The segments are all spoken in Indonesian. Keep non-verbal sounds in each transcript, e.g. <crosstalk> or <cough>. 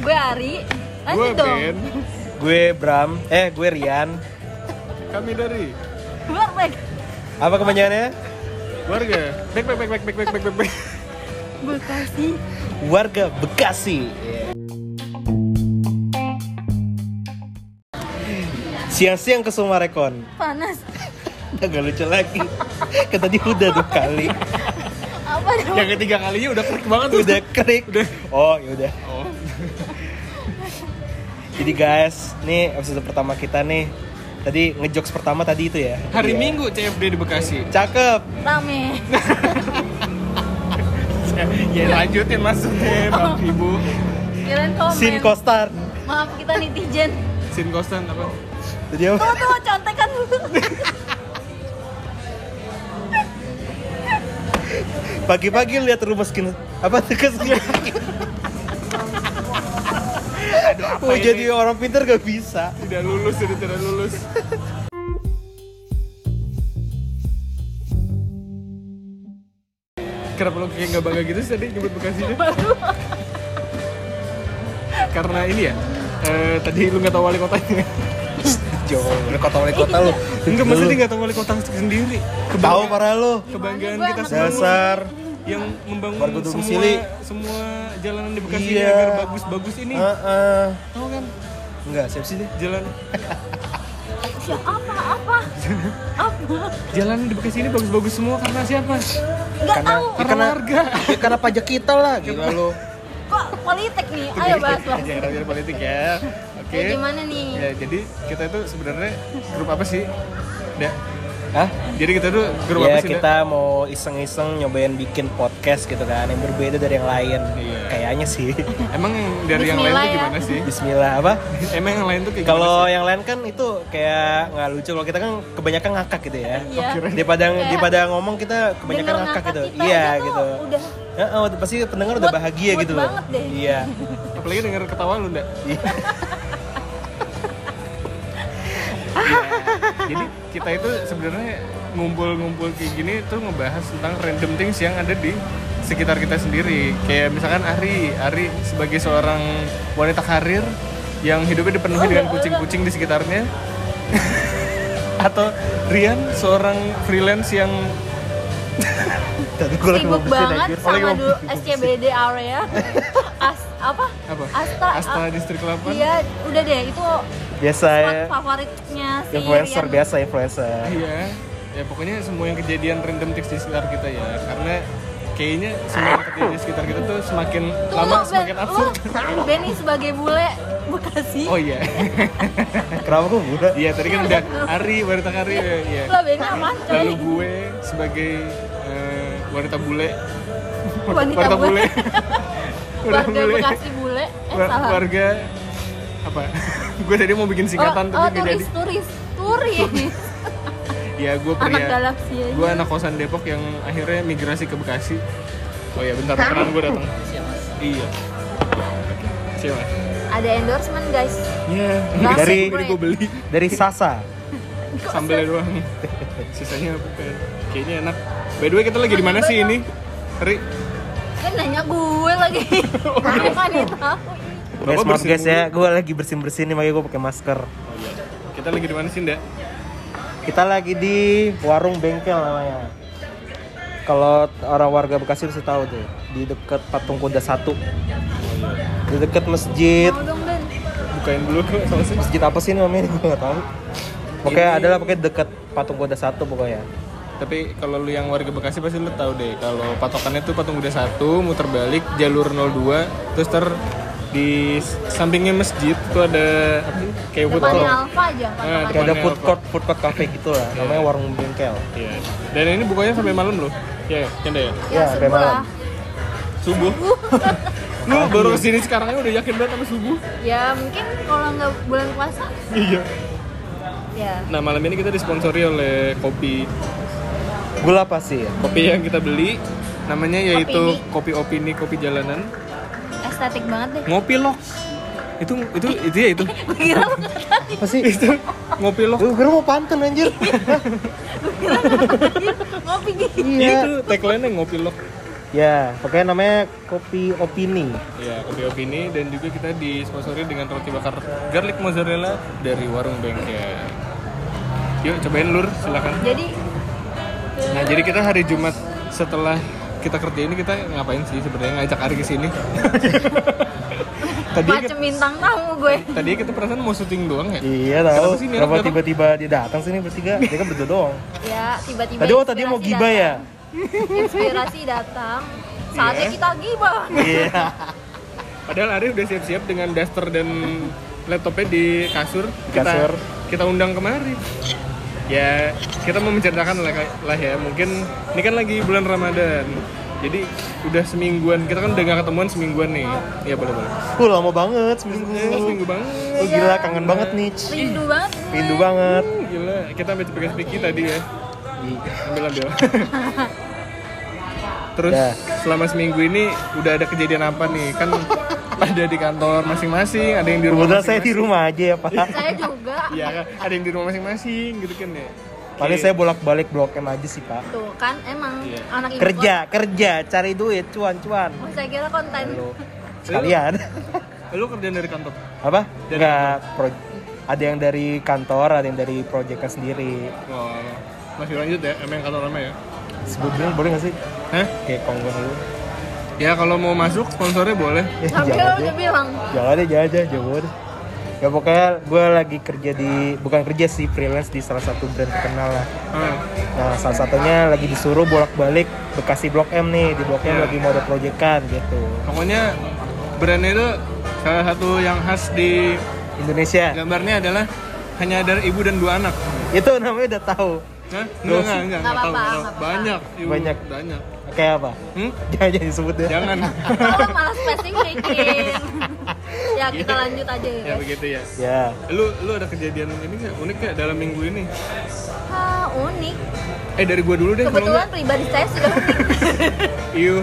Gue Ari. Gue Lanjut dong. Ben, Gue Bram, eh gue Rian. kami dari Keluar baik. Apa kepanjangannya? warga. Back back back back back back back back. back. Bekasi. Warga Bekasi. Siang-siang ke Sumarekon. Panas. Agak lucu lagi. Kan tadi udah dua kali. Apa dong? Yang ketiga kalinya udah klik banget tuh. Udah klik. Oh, ya udah. Oh. Jadi guys, nih episode pertama kita nih. Tadi ngejokes pertama tadi itu ya. Hari Iya. Minggu CFD di Bekasi. <laughs> Cakep. Rame. ya lanjutin maksudnya, Bang Ibu. Kirain komen. Sin Kostar. Maaf kita netizen. Sin Kostan apa? Jadi apa? Tuh tuh contekan dulu. Pagi-pagi lihat rumah skin apa tuh skin. Aduh, apa ini? Mau Oh, jadi orang pintar gak bisa. tidak lulus, ini tidak lulus. Kenapa lo kayak nggak bangga gitu sih tadi nyebut Bekasinya? Karena ini ya, eh, tadi lu nggak tahu wali kotanya. Jo, udah kota oleh kota lu. Enggak, Lu maksudnya nggak tahu wali kota sendiri. Tahu Kebangga- parah lu. Kebanggaan Gimana kita gua semua. Dasar. yang membangun Warga Dukuh semua Sili. semua jalanan di Bekasi Iya. agar bagus-bagus ini. Heeh. Tahu kan? Enggak, siapa sih deh? Jalan Ya, apa apa? Apa? jalan di Bekasi ini bagus-bagus semua karena siapa? Enggak tahu. Karena warga. ya karena pajak kita lah gila lu. Kok politik nih? Ayo bahas lah. Jangan bicara politik ya. Oke. Ya, gimana nih? Ya, jadi kita itu sebenarnya grup apa sih? Da. Hah? Jadi kita tuh grup apa Ya sih? Da? kita mau iseng-iseng nyobain bikin podcast gitu kan yang berbeda dari yang lain. Iya. Kayaknya sih. Emang yang dari yang lain Bismillah tuh ya. gimana sih? Bismillah apa? Emang yang lain tuh kayak Kalau gimana sih? yang lain kan itu kayak nggak lucu. Kalau kita kan kebanyakan ngakak gitu ya. Iya. Daripada Kayak daripada ngomong kita kebanyakan Denger ngakak gitu. kita Iya aja tuh gitu. Udah Heeh, pasti pendengar udah Mood- bahagia mood gitu loh. banget deh. Iya. <laughs> apalagi denger ketawa lu, Da. Iya. Jadi kita itu sebenarnya ngumpul-ngumpul kayak gini tuh ngebahas tentang random things yang ada di sekitar kita sendiri. Kayak misalkan Ari, Ari sebagai seorang wanita karir yang hidupnya dipenuhi dengan kucing-kucing di sekitarnya. <laughs> Atau Rian seorang freelance yang Tadi gua lagi sibuk mau bersihin banget anjir. Apalagi sama mau dulu SCBD <laughs> area. ya. As apa? apa? Asta. Asta Distrik 8. Iya, udah deh itu Biasa spot ya. favoritnya si Influencer Rian. biasa influencer. Iya. Ya pokoknya semua yang kejadian random things di sekitar kita ya. Karena kayaknya semua yang kejadian di sekitar kita tuh semakin Tuh, lama lu, semakin Ben, absurd. lu, Benny sebagai bule Bekasi. Oh iya. <laughs> Eh, Kenapa gua muda? Iya tadi kan udah Ari, wanita Ari ya. iya. Lah Benny apaan coy? Lalu gue sebagai eh, wanita bule. Wanita <laughs> bule. Wanita Warga bule. Bekasi bule. Eh Wa- salah. Warga apa? <laughs> gue tadi mau bikin oh, singkatan oh, tapi nggak jadi. turis, turis, <laughs> turis. Ya gue Anak pria. galaksi Gue aja. anak kosan Depok yang akhirnya migrasi ke Bekasi. Oh iya bentar, bentar gue datang. Iya. Siapa? Ada endorsement guys. Iya. Langsung Dari gue. tadi gue beli Dari Sasa. sambelnya doang. Sisanya bukan. Kayaknya enak. By the way kita lagi di mana sih ini? Ri. Kan nanya gue lagi. Gue kan yang tahu. Guys, maaf bersihin guys ya, gua lagi bersin-bersin nih makanya gua pakai masker. Oh, iya. Kita lagi di mana sih, Nda? Kita lagi di warung bengkel namanya. Kalau orang warga Bekasi pasti tahu tuh, di dekat patung kuda satu. Di dekat masjid. Mau dong Ben. Bukain dulu kok sausnya. Masjid apa sih namanya? Gua nggak tahu. Pokoknya Ini- adalah pokoknya dekat patung kuda satu pokoknya. Tapi kalau lu yang warga Bekasi pasti lu tahu deh kalau patokannya tuh patung kuda satu muter balik jalur 02 terus ter di s- sampingnya masjid tuh ada apa sih? Kayak food Depannya court. Alfa aja. Ah, Kayak ada depannya food apa? court, food court cafe gitu lah, namanya warung bengkel. Iya. Dan ini bukanya sampai malam loh. Iya, kan ya? Ya, Ya, sampai subuh lah. malam. Subuh. <laughs> lu baru kesini sekarang udah yakin banget sama subuh. Ya mungkin kalau nggak bulan puasa, Iya. ya Nah, malam ini kita disponsori oleh kopi. Gula pasir. Kopi yang kita beli namanya yaitu kopi opini, kopi jalanan. estetik banget deh. <laughs> Ngopi lok. Itu itu itu ya <laughs> itu. Gue kira lu nggak tadi. Apa sih? <laughs> Itu. Ngopi lok. Gue kira mau pantun anjir. Ngopi gini. Iya. Iya. gitu. Itu tagline-nya ngopi lok. Ya, pokoknya namanya kopi opini. Ya, kopi opini dan juga kita disponsori dengan roti bakar garlic mozzarella dari warung bengkel. Yuk cobain lur, silakan. Jadi Nah, jadi kita hari Jumat setelah kita kerja ini kita ngapain sih sebenarnya ngajak Ari ke sini? tadi macam bintang tamu gue. tadi kita perasaan mau syuting doang ya? Iya Kenapa tahu. sih ini Kenapa orang datang? tiba-tiba dia datang sini bertiga? Dia kan berdua doang. Ya, tiba-tiba Tadi oh tadi mau inspirasi gibah ya? datang. Inspirasi datang. Saatnya Iya. kita gibah. Iya. Padahal Ari udah siap-siap dengan daster dan laptopnya di kasur. Kita, Kasur. Kita undang kemari. Ya, kita mau menceritakan lah, lah ya. Mungkin ini kan lagi bulan Ramadan. Jadi udah semingguan, kita kan udah gak ketemuan semingguan nih. Iya boleh boleh. Uh lama banget Oh, seminggu. seminggu banget. Oh gila kangen banget nih. Rindu banget. gue. Rindu banget. Uh, Gila, kita ambil cepet piki tadi ya. Ambil ambil. Terus Dah. selama seminggu ini udah ada kejadian apa nih? Kan ada di kantor masing-masing, ada yang di rumah. Kebetulan saya masing-masing. di rumah aja ya Pak. Saya juga. Iya kan, ada yang di rumah masing-masing gitu kan ya. Paling saya bolak-balik blok M aja sih Pak. Tuh kan emang Iya. anak ibu Kerja, kerja, cari duit, cuan-cuan. kos. Oh, saya kira konten. Sekalian. Lu kerjaan dari kantor. Apa? Dari Enggak. pro- ada yang dari kantor, ada yang dari proyeknya sendiri. Wah, masih lanjut ya, emang yang kantor lama ya. Sebut brand boleh nggak sih? Hah? Kayak konggo dulu. Ya kalau mau masuk sponsornya boleh. Eh, Tapi jangan udah deh. bilang Jangan deh, jangan aja, jangan. Ya pokoknya gue lagi kerja di, bukan kerja sih, freelance di salah satu brand terkenal lah. Ah, Nah, salah satunya lagi disuruh bolak-balik Bekasi Blok M nih, di Blok M Iya. lagi mau ada proyekan gitu. pokoknya brandnya itu salah satu yang khas di Indonesia. gambarnya adalah hanya ada ibu dan dua anak. Itu namanya udah tahu. Hah? Enggak, enggak, enggak, Nggak enggak tahu, apa-apa, nggak tahu. nggak apa-apa. Banyak, ibu, Banyak. banyak. Kayak apa? Hmm? Jangan jangan disebut ya. deh. Jangan. <laughs> Kalau malah <laughs> spesifikin Iya. Ya kita lanjut aja ya ya guys begitu ya. Ya. Lu lu ada kejadian ini nggak unik nggak dalam minggu ini? Ah, unik Eh dari gua dulu deh kalau Kebetulan nggak. pribadi saya <laughs> sudah unik Iu.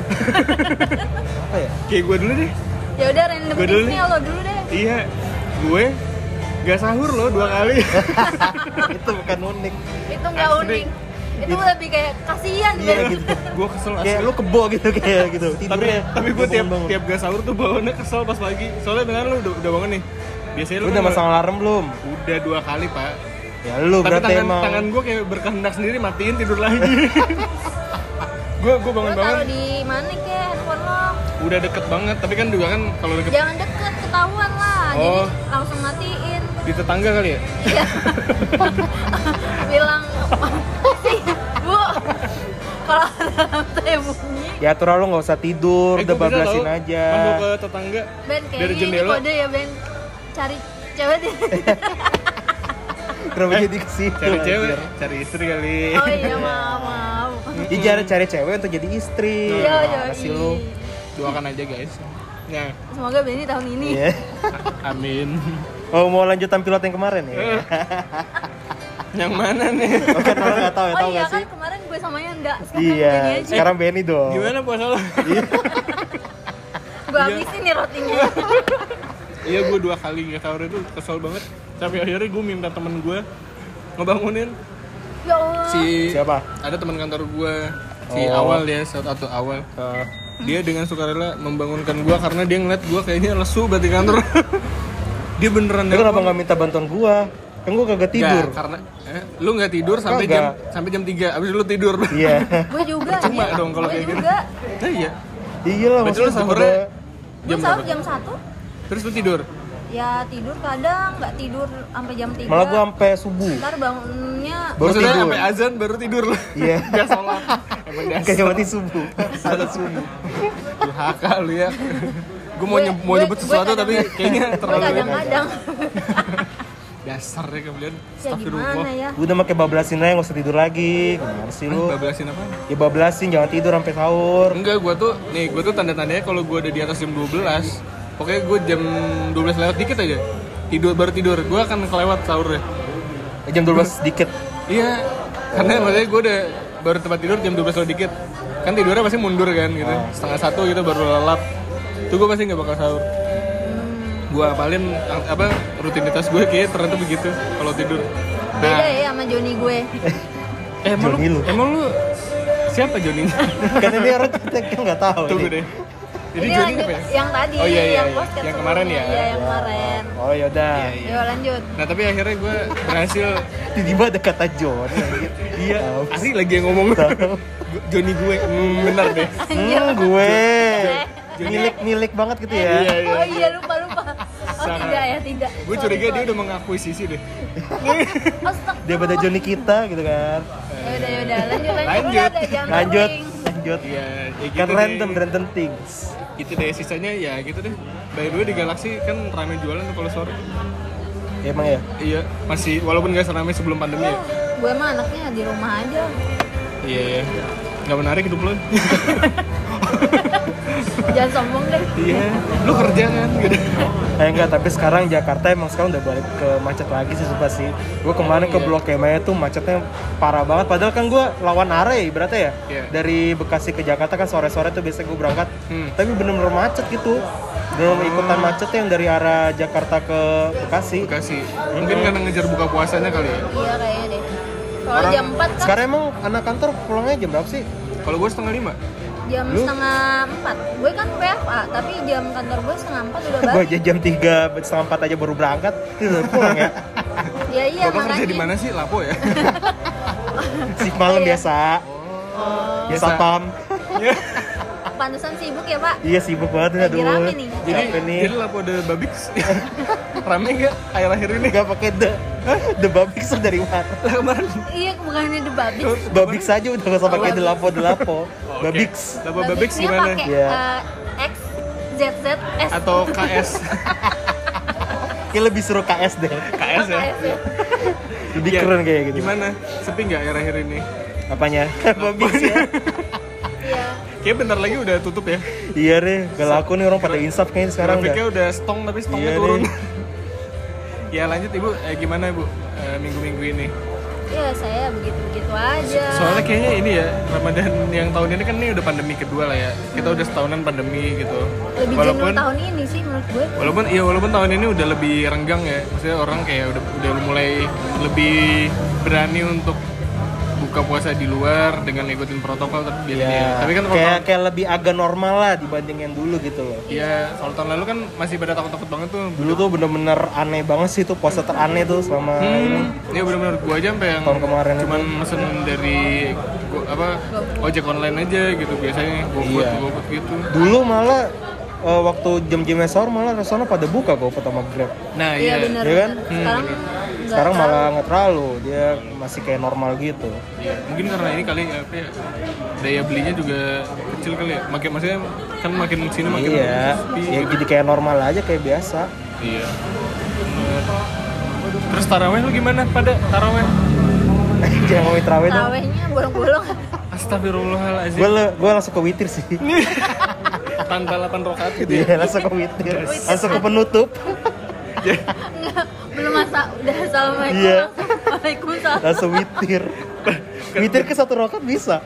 Apa ya? <laughs> Kayak gua dulu deh. Ya udah random Gua dulu tipsnya lo dulu deh Iya, gue gak sahur loh dua <laughs> kali. Iya. itu bukan unik. Itu nggak Asli. unik Itu lebih kayak kasihan Gitu. Iya biar- gitu. gue kesel Kayak asli. lu kebo gitu kayak gitu. tapi Tidurnya tapi gue tiap bangun-bangun. tiap gak sahur tuh bawaannya kesel pas pagi. Soalnya dengan lu udah, udah bangun nih. Biasanya lu lu udah kan masang alarm belum? udah dua kali pak. Ya lu tapi berarti tangan emang. tangan gue kayak berkehendak sendiri matiin tidur lagi. <laughs> gue Lo gue bangun bangun taruh di mana ke handphone lo udah deket banget tapi kan juga kan kalau deket Jangan deket ketahuan lah Jadi Oh. langsung matiin di tetangga kali ya Iya. Bilang "Sih, Bu Kalau alarm saya bunyi Ya tuh lu nggak usah tidur, Eh, udah gua bisa bablasin tau, aja. masuk ke tetangga Ben Dari kayaknya ini jendela. kode ya Ben cari cewek <laughs> deh Kenapa jadi ke situ? eh, cari cewek Iya, anjir? cari istri kali oh iya maaf maaf Ih, jangan cari cewek untuk jadi istri. yo yo Gimana sih i. lu. doakan aja guys ya semoga Benny tahun ini Iya. amin <laughs> Oh mau lanjutan pilot yang kemarin ya? Eh. yang mana nih <laughs> Oh kan orang nggak tahu ya, oh iya tahu nggak kan sih? kemarin gue sama Yanda sekarang Iya. Benny aja Sekarang Benny dong. Gimana puasa lo? gue habisin nih rotinya iya gue dua kali nggak sahur itu kesel banget. Sampai akhirnya gue minta temen gue ngebangunin ya Allah si Siapa? ada teman kantor gue si Oh. awal ya saat atau awal Eh, dia dengan sukarela membangunkan gue karena dia ngeliat gue kayaknya lesu berarti kantor <laughs> dia beneran lu kenapa nelpon. nggak minta bantuan gua? Kan gua kagak tidur. Nggak, karena eh, lu nggak tidur sampai Kagak. jam sampai jam 3 abis itu lu tidur Iya. gue juga Percuma ya. dong kalau gue kayak gitu. juga <laughs> nah, iya iya lah berarti lu maksudnya sahurnya daripada- gue jam sahur berapa? jam satu terus lu tidur ya tidur kadang nggak tidur sampai jam tiga Malah gua sampai subuh. ntar bangunnya Baru maksudnya tidur. sampai azan baru tidur lu Iya. <laughs> nggak sholat emang dasar Kayak mati subuh. Salat subuh. durhaka lu ya gue mau, Gue- nyeb- mau gue- nyebut gue sesuatu tapi kadang- kayaknya gue terlalu ya. <laughs> kadang-kadang dasar ya kemudian ya gimana ya Gua udah pakai bablasin aja nggak usah tidur lagi. Gimana sih lu? bablasin apa Ya bablasin jangan tidur sampai sahur. enggak gue tuh nih gue tuh tanda tandanya kalau gue ada di atas jam 12 pokoknya gue jam 12 lewat dikit aja tidur baru tidur gue akan kelewat sahurnya Jam 12 <laughs> sedikit. iya karena maksudnya gue udah baru tempat tidur jam 12 lewat dikit kan tidurnya pasti mundur kan gitu setengah satu gitu baru lelap itu gue pasti nggak bakal sahur gue apalin apa rutinitas gue kayak ternyata begitu kalau tidur Nah, beda ya sama Joni gue Eh, emang lu, Johnny lu. emang lu Siapa Joninya? Karena dia orang kita kan nggak tahu. <laughs> Tunggu ini. deh. Jadi Ini Joni lanjut apa ya? yang tadi, Oh iya iya. yang iya. podcast Yang kemarin ya. sebelumnya. Iya, yang kemarin. Oh yaudah. Iya, iya. Yuk lanjut. Nah tapi akhirnya gue berhasil. Tiba-tiba ada kata John. anjir. <laughs> Iya. Ari lagi yang ngomong. Tahu. Gu- <laughs> Joni gue. Hmm, benar deh. Anjir. Hmm, <laughs> gue. Iya. Joni. Milik-milik banget gitu ya. Iya iya. Oh iya lupa lupa. Oh Sangat. tidak ya tidak. Gue curiga dia udah mengakui sisi deh. Dia pada Johnny kita gitu kan. Ya udah ya udah lanjut lanjut. Udah, Lanjut. udah, jangan Lanjut, rolling. lanjut. Iya. Ya, gitu Kan deh. random, random things. Gitu deh sisanya ya gitu deh. By the way di Galaxy kan rame jualan tuh kalau sore. Emang ya? Iya, masih walaupun gak seramai sebelum pandemi ya. Gue mah anaknya di rumah aja. Iya, iya. Gak menarik hidup lo. <laughs> Jangan sombong deh. Iya. Lu kerja kan gitu. Eh enggak, tapi sekarang Jakarta emang sekarang udah balik ke macet lagi sih sumpah sih. Gue kemarin Iya. ke Blok M tuh macetnya parah banget. Padahal kan gue lawan arah ya ibaratnya ya. Iya. Dari Bekasi ke Jakarta kan sore-sore tuh biasanya gue berangkat. Hmm. Oh. Tapi bener-bener macet gitu. Bener-bener ikutan macet yang dari arah Jakarta ke Bekasi. Bekasi. Mungkin karena ngejar buka puasanya kali ya. Iya kayaknya deh. Kalau Orang- jam 4 kan Sekarang emang anak kantor pulangnya jam berapa sih? Kalau gue setengah lima. jam Lu? setengah 4. Gue kan WFA, tapi jam kantor gue setengah 4 udah Gue balik. aja jam 3, setengah 4 aja baru berangkat. Itu udah pulang <laughs> ya. Ya iya Bapak kerja makanya. di mana sih? Lapo ya? Sip malam biasa. Iya. Ya, Oh, Biasa Biasa. pam. pantesan sibuk ya, Pak. Iya sibuk banget Lagi aduh. rame nih. jadi, Capek <laughs> nih. jadi Lapo de Babix. <laughs> Rame gak akhir-akhir ini? Gak pakai the the babix tuh dari mana? Lah kemarin. Iya, bukannya di babi. Babix aja udah gak usah pakai the lapo the lapo. <laughs> Oh, oke. Babix. Lapo Babix gimana? pakai Iya. eh, X Z Z S Atau <laughs> KS. Kayak lebih seru KS <laughs> deh. KS ya? KS ya. Lebih Iya. keren kayak gitu. Gimana? Sepi gak akhir-akhir ini? <laughs> Apanya? babix ya. Iya. Kayak bentar lagi udah tutup ya. iya deh, gak laku nih orang pada insaf kayaknya sekarang Grafiknya udah. udah stong tapi stongnya Iya deh. ya turun. <laughs> ya lanjut ibu, Eh, gimana ibu eh, minggu-minggu ini? Iya, saya begitu-begitu aja. Soalnya kayaknya ini ya Ramadan yang tahun ini kan ini udah pandemi kedua lah ya. Kita udah setahunan pandemi gitu. lebih jenuh walaupun tahun ini sih menurut gue. walaupun iya walaupun tahun ini udah lebih renggang ya. Maksudnya orang kayak udah udah mulai lebih berani untuk buka puasa di luar dengan ngikutin protokol tapi biasanya. Iya. Tapi kan kalau kayak kayak lebih agak normal lah dibanding yang dulu gitu loh. Iya, soal tahun lalu kan masih pada takut-takut banget tuh. Dulu tuh bener-bener aneh banget sih tuh puasa teraneh tuh selama Hmm, ini. ya benar-benar gua aja sampai yang Tahun kemarin itu. cuman mesen dari gua, apa ojek online aja gitu biasanya GoFood Iya. GoFood gitu. Dulu malah eh, waktu jam-jamnya sahur malah restoran pada buka kok pertama Grab. Nah, Iya iya. benar. Iya kan? benar. Sekarang nggak sekarang tahu. malah nggak terlalu dia masih kayak normal gitu Iya, Mungkin karena ini kali apa ya, daya belinya juga kecil kali ya. Makin maksudnya kan makin sini makin iya sepi ya gitu. jadi kayak normal aja kayak biasa <laughs> Iya. Bener. Terus taraweh lu gimana pada taraweh? jangan ngomongin terawih dong Tarawehnya bolong-bolong. gue Astagfirullahalazim. gue langsung ke witir sih Tanpa 8 rakaat gitu ya. iya langsung ke witir langsung ke penutup Nggak, belum masa udah assalamualaikum. Iya. langsung Waalaikumsalam. langsung witir witir ke satu rokat bisa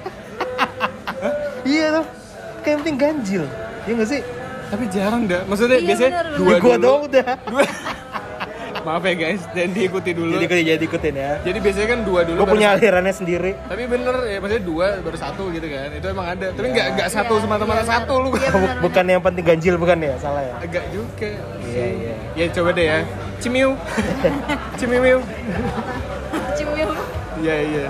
iya tuh kayak yang penting ganjil Iya gak sih? Tapi jarang dah. Maksudnya Iya, biasanya bener, bener. dua Eh, gua dulu. doang udah Maaf ya guys, dan diikuti dulu. Jadi ikutin, jadi ikutin ya Jadi biasanya kan dua dulu. Gue baru punya satu. alirannya sendiri Tapi bener ya, maksudnya dua baru satu gitu kan. Itu emang ada. Tapi nggak nggak satu Iya, semata-mata iya, satu lu. iya. Bu- benar-benar. Bukan yang penting ganjil, bukan ya? Salah ya? <laughs> Agak juga. Iya, iya Ya coba deh ya. <laughs> Cimiu. Cimiu. Cium. Iya iya.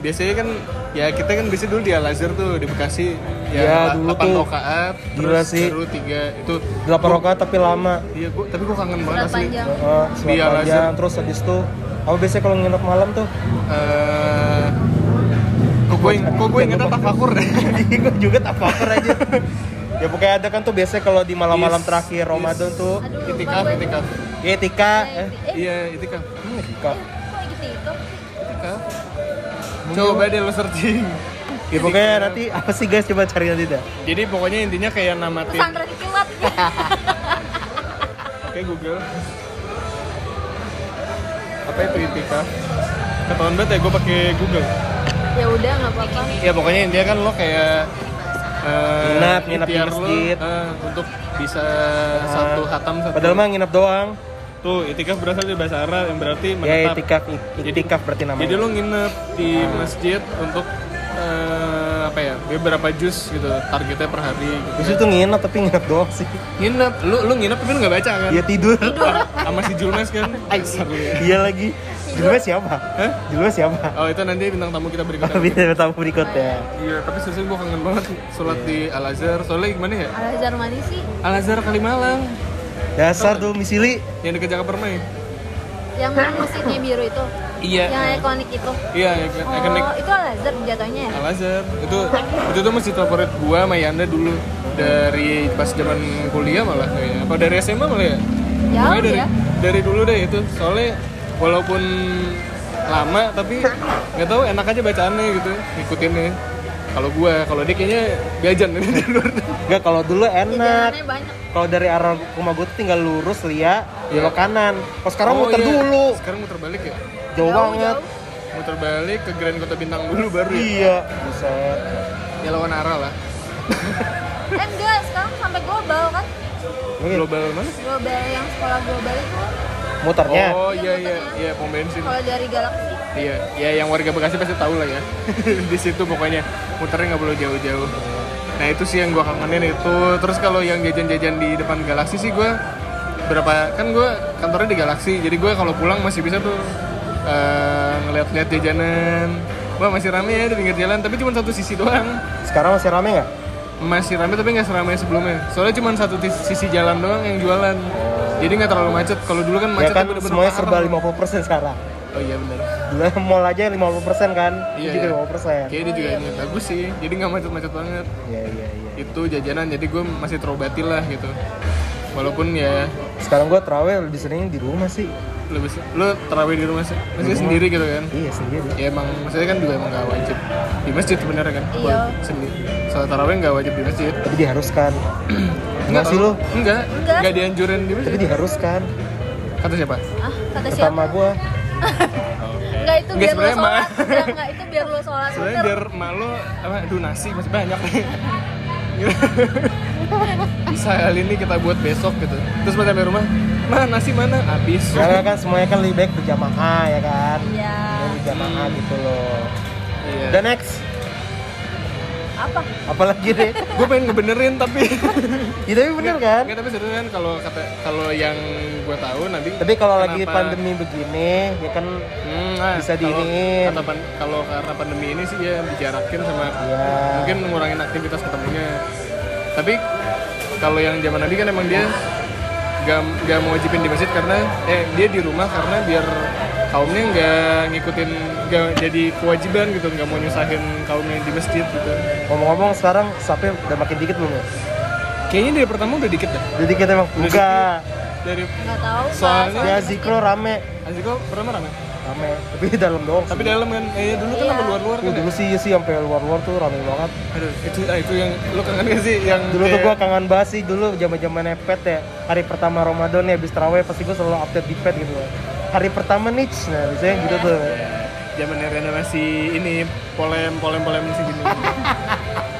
Biasanya kan ya kita kan biasanya dulu di Al Azhar tuh di Bekasi Iya, ya, dulu delapan tuh. rakaat Gila terus sih. baru tiga itu Delapan rokat tapi lama. iya gua tapi gua kangen banget Surat sih panjang. Heeh, sholat Iya, panjang lazim. terus habis itu apa biasanya kalau nginep malam tuh? <laughs> Eh, kok gue kok gue ingetnya tafakur deh <laughs> Gue juga tak cover aja. ya pokoknya ada kan tuh biasanya kalau di malam-malam Yes, terakhir yes. Ramadan tuh Aduh, lupa itikaf gue. itikaf ya tika eh Eh, eh, iya itikaf Hmm, tika. kok itikaf sih? itikaf coba deh lo searching Ya pokoknya nanti apa sih guys coba cari nanti dah. Jadi pokoknya intinya kayak nama tim. Pesantren kilat. Oke Google. Apa itu itikaf? Ketahuan banget ya gue pakai Google. ya udah nggak apa-apa. Ya pokoknya intinya kan lo kayak eh, Nginap, nginap di ikhtiar lo, masjid. Ah. eh, untuk bisa satu hatam satu. Padahal mah nginep doang. tuh itikaf berasal dari bahasa Arab yang berarti menetap. Ya itikaf, Jadi- itikaf berarti Jadi namanya. lo nginep di masjid untuk eh, apa ya beberapa jus gitu targetnya per hari gitu. Terus itu nginep tapi nginep doang sih. nginep lu lu nginep tapi lu nggak baca kan Iya tidur. sama si Julmes kan Seru ya. Iya lagi. Judulnya siapa? Hah? Judulnya siapa? oh itu nanti bintang tamu kita berikutnya <laughs> Biar tamu berikutnya. iya tapi serius gue kangen banget sholat di Al Azhar soalnya gimana ya Al Azhar manis sih Al Azhar Kalimalang Dasar domisili. yang dekat Jakarta Permai yang mesinnya biru itu yang iya ikonik itu iya yang oh ikonik Iya, itu Al Azhar jatuhnya ya Al Azhar itu itu tuh masjid favorit gua sama Yanda dulu dari pas zaman kuliah malah kayaknya apa dari SMA malah ya Ya, Pokoknya dari ya. dari dulu deh itu soalnya walaupun lama tapi nggak tahu enak aja bacaannya gitu ngikutinnya kalau gua kalau dia kayaknya biajan <laughs> ini di luar Enggak kalau dulu enak. jajanannya banyak Kalau dari arah rumah gue tuh tinggal lurus lia, belok kanan. Kalau sekarang Iya. Oh, muter iya. dulu, sekarang muter balik ya jauh, banget. jauh. muter balik ke Grand Kota Bintang dulu baru ya Iya, buset. ya lawan arah lah eh enggak sekarang sampai global kan Ini global mana global yang sekolah global itu muternya. oh iya iya iya pom bensin kalau dari galaksi Iya, ya yang warga Bekasi pasti tahu lah ya. <laughs> di situ pokoknya muternya nggak perlu jauh-jauh. Nah itu sih yang gua kangenin itu. Terus kalau yang jajan-jajan di depan Galaksi sih gua berapa kan gua kantornya di Galaksi, jadi gua kalau pulang masih bisa tuh eh, ngeliat-ngeliat jajanan. Wah masih rame ya di pinggir jalan, tapi cuma satu sisi doang. Sekarang masih rame nggak? Iya Masih rame tapi nggak seramai sebelumnya. Soalnya cuma satu tis- sisi jalan doang yang jualan. Jadi nggak terlalu macet. Kalau dulu kan Ya macet kan tapi udah semuanya serba berapa 50% sekarang. orang. Oh iya benar. Dulu mall aja 50% kan? Ini Iya, juga iya. 50%. Kayaknya dia juga ini bagus sih, jadi nggak macet-macet banget. Iya, iya, iya. Itu jajanan, jadi gue masih terobati lah gitu. Walaupun ya Sekarang gua terawih lebih sering di rumah sih. lebih lo terawih di rumah sih, masih sendiri gitu kan. Iya, sendiri. Ya emang maksudnya kan juga emang nggak wajib di masjid sebenarnya kan. Iya. Buat Sendiri. Soal tarawih nggak wajib di masjid. Tapi <clears throat> diharuskan. Enggak sih tau. lo, Enggak. Enggak. Enggak dianjurin di tapi masjid. diharuskan. Kata siapa? ah kata siapa Pertama gua enggak itu Enggak, biar lo sebenarnya mah. sholat enggak enggak itu biar lo sholat Soalnya bener biar malu apa donasi masih banyak <laughs> nih. Bisa kali ini kita buat besok gitu. Terus pas sampai rumah, "Ma, nasi mana?" Habis. Karena kan semuanya kan lebih baik berjamaah ya kan. iya Berjamaah gitu loh. Iya. Dan next, apa apalagi deh. gue pengen ngebenerin tapi Ya, tapi bener kan? Nggak, tapi sebenarnya kan kalau kata kalau yang gue tahu nanti Tapi kalau lagi kenapa- pandemi begini, ya kan Hmm, nah, bisa kalau- diiniin. kata pan- kalau karena pandemi ini sih ya dijarakin sama Iya. mungkin ngurangin aktivitas ketemunya tapi kalau yang zaman tadi kan emang dia gak, gak mau wajibin di masjid karena eh dia di rumah karena biar kaumnya nggak ngikutin nggak jadi kewajiban gitu nggak mau nyusahin kaumnya di masjid gitu ngomong-ngomong sekarang sapi udah makin dikit belum ya? kayaknya dari pertama udah dikit dah Jadi kita emang Udah enggak. dari enggak tahu Pak. Soalnya- Ya zikro rame, Aziko pertama rame rame. Tapi di dalam doang. Tapi sih. dalam kan, eh dulu kan Iya. sampai luar-luar Aku kan. ya? dulu sih sih sampai luar-luar tuh rame banget. Aduh, itu ah, itu yang lu kangen gak sih yang Dulu tuh kayak- gua kangen banget sih dulu zaman-zaman nepet ya. Hari pertama Ramadan ya habis tarawih pasti gua selalu update di pet gitu. Hari pertama nih, nah biasanya gitu tuh. zaman Rena masih ini polem polem polem masih gini.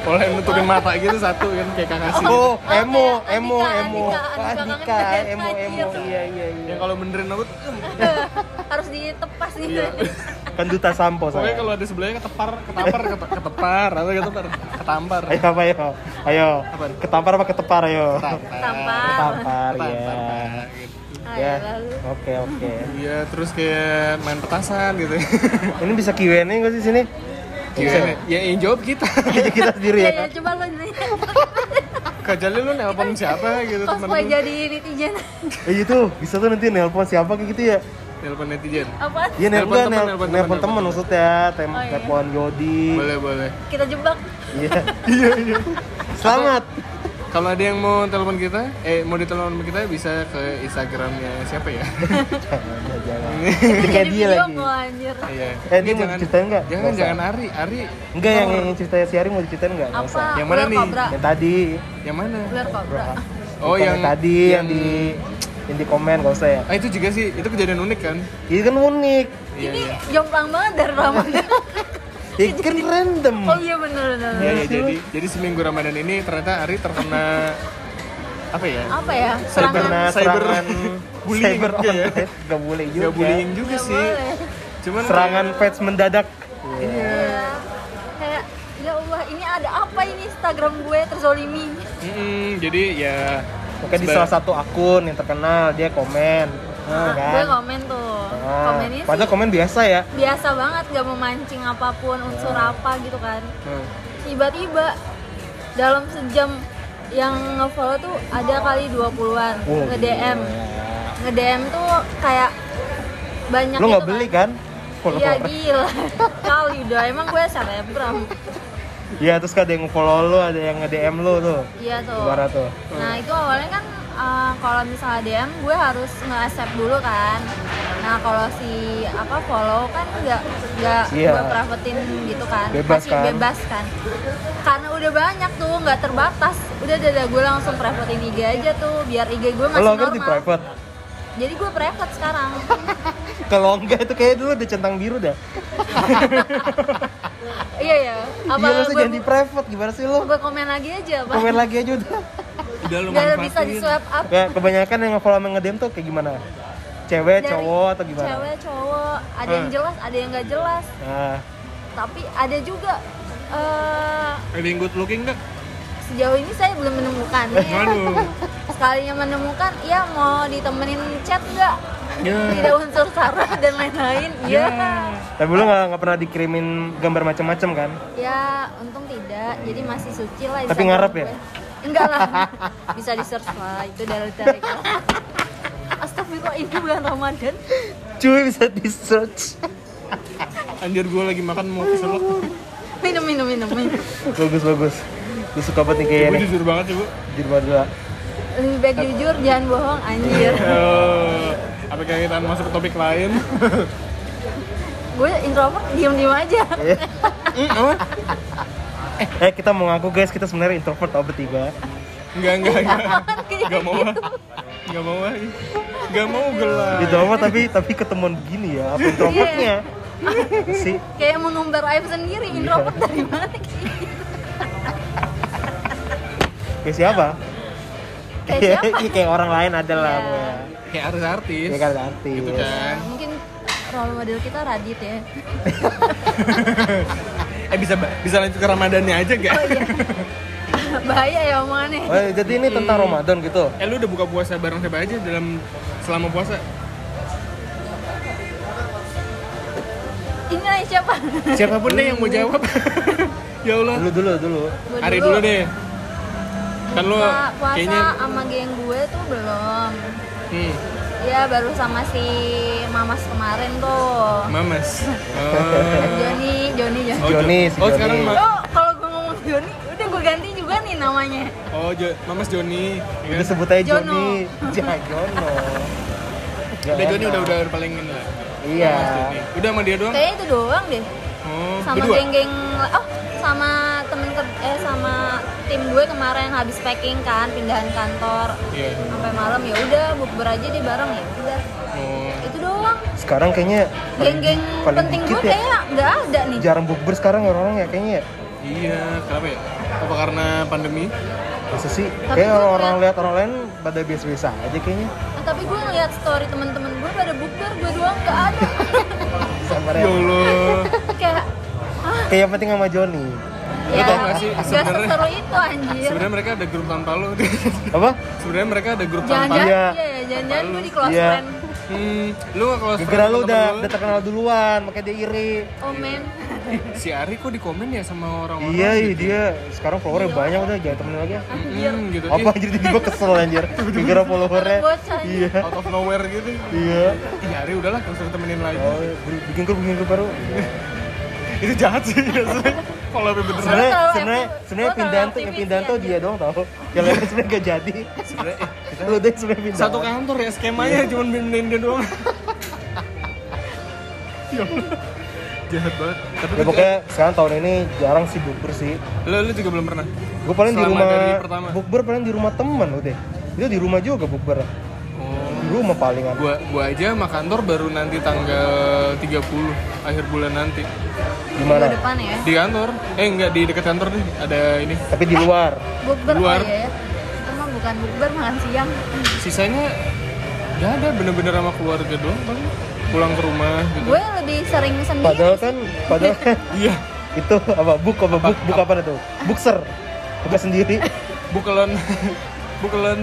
polem nutupin mata gitu satu kan kayak kakak sih. Oh, Oke, emo, Andika, emo, Andika, emo. Andika, Pak Andika Andika, kangen emo, banget, emo. anjir. Iya, iya, iya. Yang Ya kalau benerin rambut, em, <laughs> harus ditepas nih iya. Kan duta sampo Pokoknya saya. kalau ada sebelahnya ketepar, ketapar, ket- ketepar, apa gitu, ketepar, ketampar. Ayo apa ayo? Ayo. Apa? Ketampar apa ketepar ayo? tampar Ketampar ya. Ketampar, gitu. Ya. Ayo, lalu Oke, oke. Iya, terus kayak main petasan gitu. Ini bisa Q&A nggak sih sini? Gimana? Ya yang jawab kita. Aja kita sendiri ya, Iya. ya. ya, coba lo nih Kejalnya lu nelpon siapa gitu temen cosplay lu. jadi netizen iya. Eh itu bisa tuh nanti nelpon siapa kayak gitu ya. Nelpon netizen. apa Iya Nelpon nelpon temen, nel- nelpon temen, nelpon, nelpon temen temen. maksudnya, tem- Oh, iya. nelpon Yodi. Boleh, boleh. kita jebak Iya. Iya iya. Selamat. Kalau ada yang mau telepon kita, eh mau ditelepon sama kita bisa ke Instagramnya siapa <laughs> ya? Jangan, jangan. Jadi Kayak Jadi dia video lagi. mau anjir Iya. Eh, dia mau diceritain nggak? Jangan, Nggak usah. jangan Ari, Ari. Enggak Oh. yang yang ceritanya si Ari mau diceritain enggak? apa Yang mana ular nih? kobra Yang tadi. Yang mana? ular kobra Oh, Komen yang tadi yang, di yang di komen gak usah ya. Ah itu juga sih, itu kejadian unik kan? Ini kan unik. Iya, ini iya. jomplang banget dari <laughs> Ramadan Ya, kan random. oh iya bener bener Iya, iya, jadi jadi seminggu Ramadan ini ternyata Ari <laughs> terkena apa ya? apa ya Cyber- serangan Karena Cyber- serangan bullying cyber juga ya. online gak boleh juga. Gak bullying juga Nggak sih. boleh. Cuman Serangan fans mendadak. Iya. kayak Iya. ya Allah ini Instagram gue terzolimi. Iya, Mm-mm, jadi ya Mungkin di seba- salah satu akun yang terkenal dia komen. Nah, Nah, kan? gue komen tuh. Ah, Nah, Komennya sih padahal komen biasa ya. biasa banget gak memancing apapun unsur Ah. apa gitu kan. Tiba-tiba dalam sejam yang nge-follow tuh ada kali 20-an Oh, nge-DM. Nge-DM tuh kayak banyak Lu nggak gitu beli kan? Iya Follower. gila. <laughs> Kali udah emang gue selebgram. Iya, terus ada yang follow lu, ada yang nge-DM lu tuh. Iya tuh. Gimana tuh? Nah itu awalnya kan eh, kalau misalnya DM gue harus nge-accept dulu kan. Nah kalau si apa follow kan nggak nggak Iya. gue privatein gitu kan. Bebas Masih kan? bebas kan. Karena udah banyak tuh nggak terbatas. Udah dada gue langsung privatein IG aja tuh biar IG gue masih Lo kan normal. di private. Jadi gue private <laughs> sekarang. Kalau enggak itu kayak dulu ada centang biru dah. iya ya. Apa iya, harusnya gue, jangan di private. Gimana sih lu? gue komen lagi aja apa? Komen lagi aja udah. udah lu Biar bisa di manfaatin. swipe up. Kayak kebanyakan yang nge-follow sama nge-DM tuh kayak gimana? Cewek, Dari Eh, cowok atau gimana? Eh. Cewek, cowok, ada yang Hmm. jelas, ada yang nggak jelas. Nah, Tapi ada juga eh, Ada yang good looking nggak? sejauh ini saya belum menemukan. Eh, Waduh. <laughs> Sekalinya menemukan, ya mau ditemenin chat nggak? Ya. <laughs> Tidak unsur sara dan lain-lain. Ya, tapi lu nggak nggak pernah dikirimin gambar macam-macam kan? ya untung tidak. Jadi masih suci lah. Tapi Instagram ngarep gue. ya? Enggak lah. Bisa di search lah. Itu dari dari. Astagfirullah ini bulan Ramadan. Cuy bisa di search. Anjir gue lagi makan mau keselak. Minum minum minum minum. bagus bagus. Gue suka banget nih kayaknya Gue nih. jujur banget sih bu. Di rumah dua. Lebih baik jujur, jangan bohong, anjir. Eh, Apa kayak kita masuk ke topik lain? <laughs> gue introvert diem-diem aja hmm, Eh kita mau ngaku guys kita sebenarnya introvert tau bertiga. Enggak enggak enggak. Kayak gitu. Enggak mau ah. Enggak mau ah. Enggak mau gelap. Introvert tapi tapi ketemuan begini ya. Apa introvertnya? Iya. sih kayak mengumbar aib sendiri introvert dari mana kayak kayak siapa? Kayak siapa? Iya, <laughs> kayak orang lain ada lah. Iya. pokoknya. Kayak artis-artis. Iya kan artis. Gitu kan. mungkin role model kita Radit ya Eh bisa bisa lanjut ke Ramadannya aja enggak? Oh, Iya. <laughs> bahaya ya omongannya Oh, jadi ini tentang Iya. Ramadan gitu. Eh lu udah buka puasa bareng siapa aja dalam selama puasa? ini lah siapa Siapapun deh yang mau jawab. <laughs> ya Allah. Dulu dulu dulu. Gua Hari dulu deh. Kan lu buka puasa kayaknya sama geng gue tuh belum hmm, ya baru sama si Mamas kemarin tuh <laughs> Kan mamas. Oh. Joni Joni Joni Jo- Joni, si oh Joni. sekarang ma- oh kalau gue ngomong Joni udah gue ganti juga nih namanya oh Jo- mamas Joni. Ya Udah kan? sebut aja Jono. Joni. Ya, Jagono. Udah Joni udah udah paling ini lah. Iya. Mas Joni. Udah sama dia doang. kayaknya itu doang deh Oh, sama berdua. geng-geng oh sama temen ke, eh sama tim gue kemarin habis packing kan pindahan kantor Iya. sampai malam ya udah bukber aja deh bareng ya udah Oh. itu doang Sekarang kayaknya geng-geng paling penting gue dikit ya. kayaknya nggak ada nih jarang bukber sekarang orang-orang ya kayaknya ya. Iya, kenapa ya? Apa karena pandemi? Masa sih? Kayak gue orang-orang ngeliat- lihat orang lain pada biasa-biasa aja kayaknya. Nah, tapi gue ngeliat story temen-temen gue pada bukber gue doang nggak ada <laughs> Sabar Ya ya. <laughs> Allah. kayak Kayak yang penting sama Joni. Lu ya tau gak sih, nggak sebenarnya- seseru itu Iya. anjir Sebenarnya mereka ada grup tanpa lo. <laughs> Apa? Sebenarnya mereka ada grup tanpa. jangan-jangan Iya. iya ya jangan-jangan gue di close Iya. friend Hmm, lu nggak kalau Gara-gara lu temen udah lu, udah terkenal duluan, makanya dia iri. oh men Si Ari kok di komen ya sama orang-orang? Iya, iya, dia sekarang Iya. followernya banyak udah jangan temenin lagi. ya. Hmm, gitu. Apa anjir tiba-tiba kesel anjir gara-gara followernya. Bocah, anjir. Iya. Ih, Out of nowhere gitu. Iya. Iya, Ari udahlah gak usah temenin lagi. Oh, bikin grup, bikin grup baru. Itu jahat sih asli. Kalau lebih beneran. Sebenarnya terlalu sebenarnya aktif- lu sebenarnya terlalu pindahan tuh yang aktivis pindahan ya, tuh anjir. dia doang tau. Yang lain sebenarnya gak jadi. Sebenarnya eh, <laughs> Lu deh sebenarnya pindah. satu kantor ya skemanya cuma benerin dia doang. <laughs> ya Allah. Jahat banget. Tapi Ya pokoknya sekarang tahun ini jarang sih bukber sih. lu, lu juga belum pernah. Gue paling di Selama rumah dari pertama. bukber paling di rumah temen lu deh. Itu di rumah juga bukber. Oh. Di rumah palingan. gua gua aja sama kantor baru nanti tanggal 30 akhir bulan nanti minggu Gimana? depan ya di kantor eh enggak di dekat kantor nih ada ini Tapi di luar. bukber Luar. kali ya itu mah bukan bukber makan siang sisanya nggak ada bener-bener sama keluarga doang paling pulang ke rumah gitu gue lebih sering sendiri Padahal kan padahal kan iya itu apa buk apa buk buk apa tuh? Bukser. buka sendiri <laughs> Bukelon Bukelon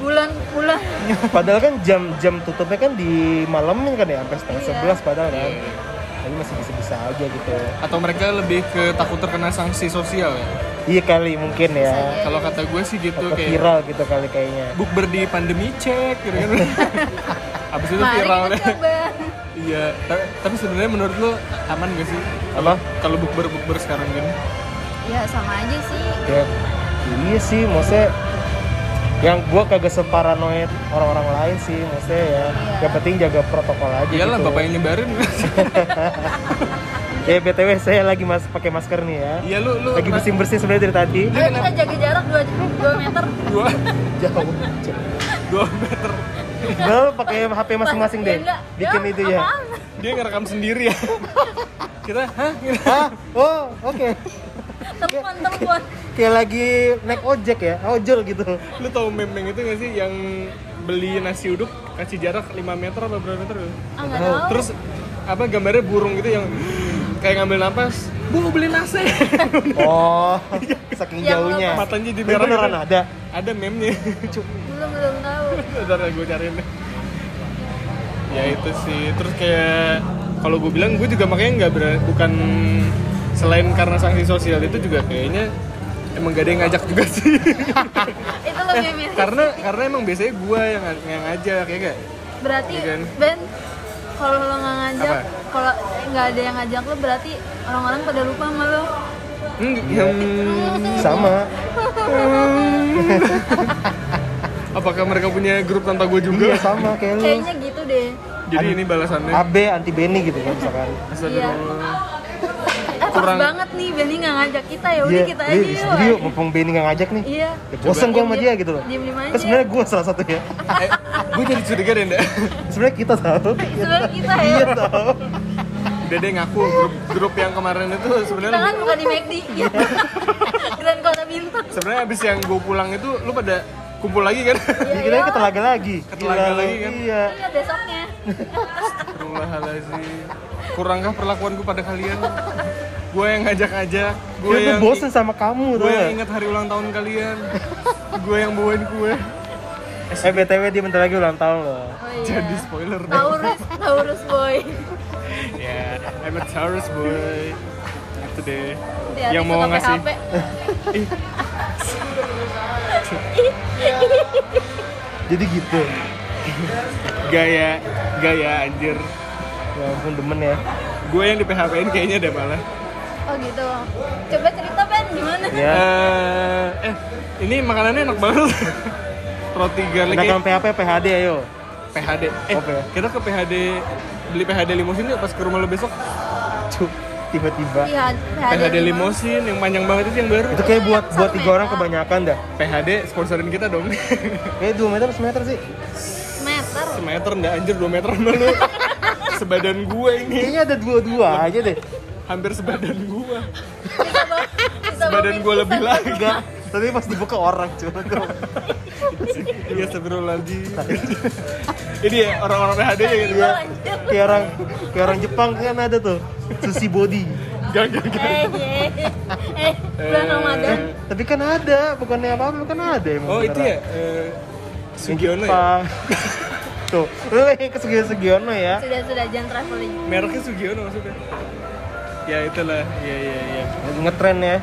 bulan bulan padahal kan jam jam tutupnya kan di malamin kan ya sampai setengah Iya. sebelas padahal kan Iya. tapi masih bisa bisa aja gitu atau mereka lebih ke takut terkena sanksi sosial ya. iya kali mungkin ya Kalau kata gue sih gitu atau kayak viral gitu kali kayaknya bukber di pandemi cek gitu <laughs> kan. Abis itu mari viral kita deh. coba Iya, ta- tapi sebenarnya menurut lo aman gak sih apa kalau bukber bukber sekarang gini? ya sama aja sih ya iya sih maksudnya yang gua kagak separanoid orang-orang lain sih maksudnya ya Iya. yang penting jaga protokol aja Iyalah gitu. bapak yang <laughs> nyebarin. eh btw saya lagi mas pakai masker nih ya Iya lu lu lagi bersin bersin sebenarnya dari tadi Ayo Eh, kita jaga jarak 2, meter dua jauh dua meter. Bel pakai HP masing-masing deh Ya enggak. bikin Ya, itu ya apaan? Dia ngerekam sendiri ya. <laughs> Kita hah? <laughs> Gitu. ah oh oke telepon telepon kayak lagi naik ojek ya ojol <laughs> gitu Lu tahu meme yang itu gak sih yang beli nasi uduk kasih jarak 5 meter apa berapa meter? gitu? ah nggak tahu Terus apa gambarnya burung gitu yang kayak ngambil napas. Bu beli <laughs> nasi. oh saking Yang jauhnya lepas. Matanya jadi Tapi merah. beneran gitu. ada Ada meme-nya. <laughs> belum belum tahu Bentar gue cariin deh. Ya itu sih. Terus kayak kalau gue bilang gue juga makanya nggak ber- bukan selain karena sanksi sosial itu juga kayaknya emang gak ada yang ngajak juga sih. <laughs> itu lebih mirip karena karena emang biasanya gue yang yang ngajak ya gak? berarti Iya kan? Ben kalau lo nggak ngajak Apa? kalau nggak ada yang ngajak lo berarti orang-orang pada lupa sama lo Hmm, hmm. sama <laughs> apakah mereka punya grup tanpa gue iya juga? sama kayak lu kayaknya gitu deh Jadi ini balasannya. AB anti Benny gitu kan Ya misalkan Astagfirullah. eh pas Kurang- banget nih Benny nggak ngajak kita ya udah kita aja iya, yuk sendiri yuk, mumpung Benny gak ngajak nih. iya Ya, bosan Coba. gue sama dia gitu loh. Diem-diem aja. Kan sebenarnya gue salah satunya. Eh, gue jadi curiga deh, Nda. <laughs> Sebenarnya kita tahu. sebenarnya kita ya Iya tahu. Udah deh ngaku grup grup yang kemarin itu kita sebenarnya kan bukan di McD ya Grand Kota Bintang sebenarnya abis yang gue pulang itu lu pada kumpul lagi kan? Iya, Dikira ke telaga lagi. Ke telaga Gila lu, lagi kan? Iya. iya besoknya Astagfirullahaladzim. Kurangkah perlakuanku pada kalian? Gue yang ngajak-ngajak, gue Gue yang bosen sama kamu tuh. gue yang ingat hari ulang tahun kalian, gue yang bawain kue. Eh BTW dia bentar lagi ulang tahun loh. oh iya Jadi spoiler deh. Taurus Taurus boy Ya, I'm a Taurus boy. Itu deh. Hati-hati yang mau suka ngasih. PHP. Jadi gitu. Gaya, gaya anjir. Ya ampun demen ya. Gue yang di PHP-in kayaknya deh malah. oh gitu coba cerita Ben gimana Iya. Ya. Eh, eh, ini makanannya enak banget. <laughs> Roti garlic Kita kan PHP PHD ayo. PHD. Eh, Oke. kita ke PHD beli PHD limosin yuk pas ke rumah lo besok. Cuk, tiba-tiba. Iya, PHD limosin yang panjang banget itu yang baru. Itu kayak buat buat tiga orang kebanyakan dah. PHD sponsorin kita dong. <laughs> Kayak 2 meter 1 meter sih. meter Semeter ndak anjir 2 meter sama lu. sebadan gue ini. Kayaknya ada dua-dua aja deh. Hampir sebadan gue. Bisa bawa- bisa bawa Sebadan gue lebih pingsan. lagi. Enggak. Tapi pas dibuka orang cuma Iya astagfirullahaladzim. <laughs> ini ya orang-orang PHD ya gitu. Iya, lanjut. kayak orang kayak orang Jepang kan ada tuh sushi body Gak, gak, gak. Eh, eh, eh, bulan Eh. Ramadan. tapi kan ada bukannya apa apa kan ada emang Oh itu ya. beneran. eh, Yang Sugiono ya. <laughs> Jepang. tuh lu yang ke Sugiono Sugiono ya Sudah sudah jangan traveling. Mereknya Sugiono maksudnya. Ya itulah. Ya ya ya. ngetren ya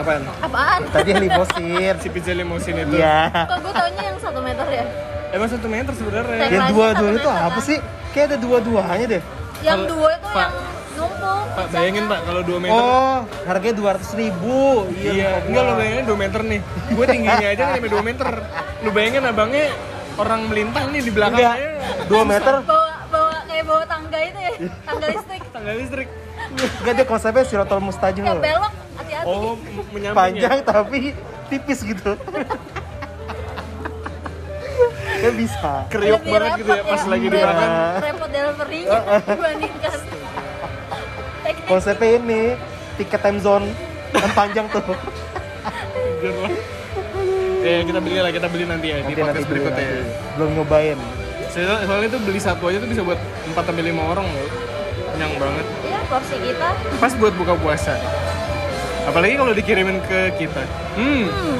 Apaan? Apaan? tadi yang limosir Si pizza limosin itu. iya Kok gue taunya yang satu meter ya? Emang satu meter sebenarnya. Yang yang lagi dua dua satu itu meter, apa kan? sih kayak ada dua-duanya deh Yang dua itu Pak. yang numpuk. Pak bayangin pak kalau 2 meter. oh harganya dua ratus ribu iya, enggak lo bayangin 2 meter nih. Gue tingginya aja kan sampai 2 meter. Lo bayangin abangnya orang melintang nih di enggak belakangnya. dua meter Bawa bawa kayak bawa tangga itu ya, tangga listrik. Tangga listrik. enggak dia konsepnya sirotol mustajim Yang loh belok hati-hati. Oh, m- menyamping ya? panjang tapi tipis gitu ya bisa Kriuk Lebih banget gitu ya repot pas lagi di Repot- belakang. Repot delivery <laughs> dibandingkan. Teknik konsepnya ini tiket time zone yang panjang tuh Anjir lah. Ya kita beli lah, kita beli nanti ya di podcast dulu, berikutnya. nanti. belum nyobain Soalnya, soalnya itu beli satu aja tuh bisa buat 4 sampai 5 orang loh. Kenyang banget. ya Iya, porsi kita Pas buat buka puasa. apalagi kalau dikirimin ke kita hmm Hmm.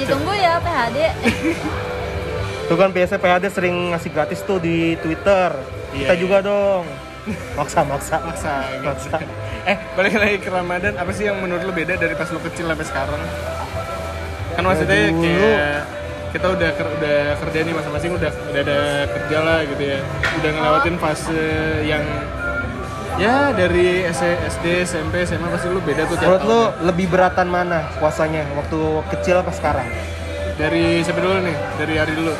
Ditunggu ya PHD. Tuh kan biasanya PHD sering ngasih gratis tuh di Twitter. Iya, Kita iya. juga dong. Maksa, maksa. maksa gitu. Maksa. eh balik lagi ke Ramadan apa sih yang menurut lo beda dari pas lo kecil sampai sekarang kan maksudnya dulu. kayak kita udah ker- udah kerja nih masing-masing udah udah ada kerja lah gitu ya udah ngelewatin fase yang ya dari S- SD SMP SMA pasti lu beda tuh tiap Menurut lu tahun. ya. lebih beratan mana puasanya waktu kecil apa sekarang? dari siapa dulu nih dari hari dulu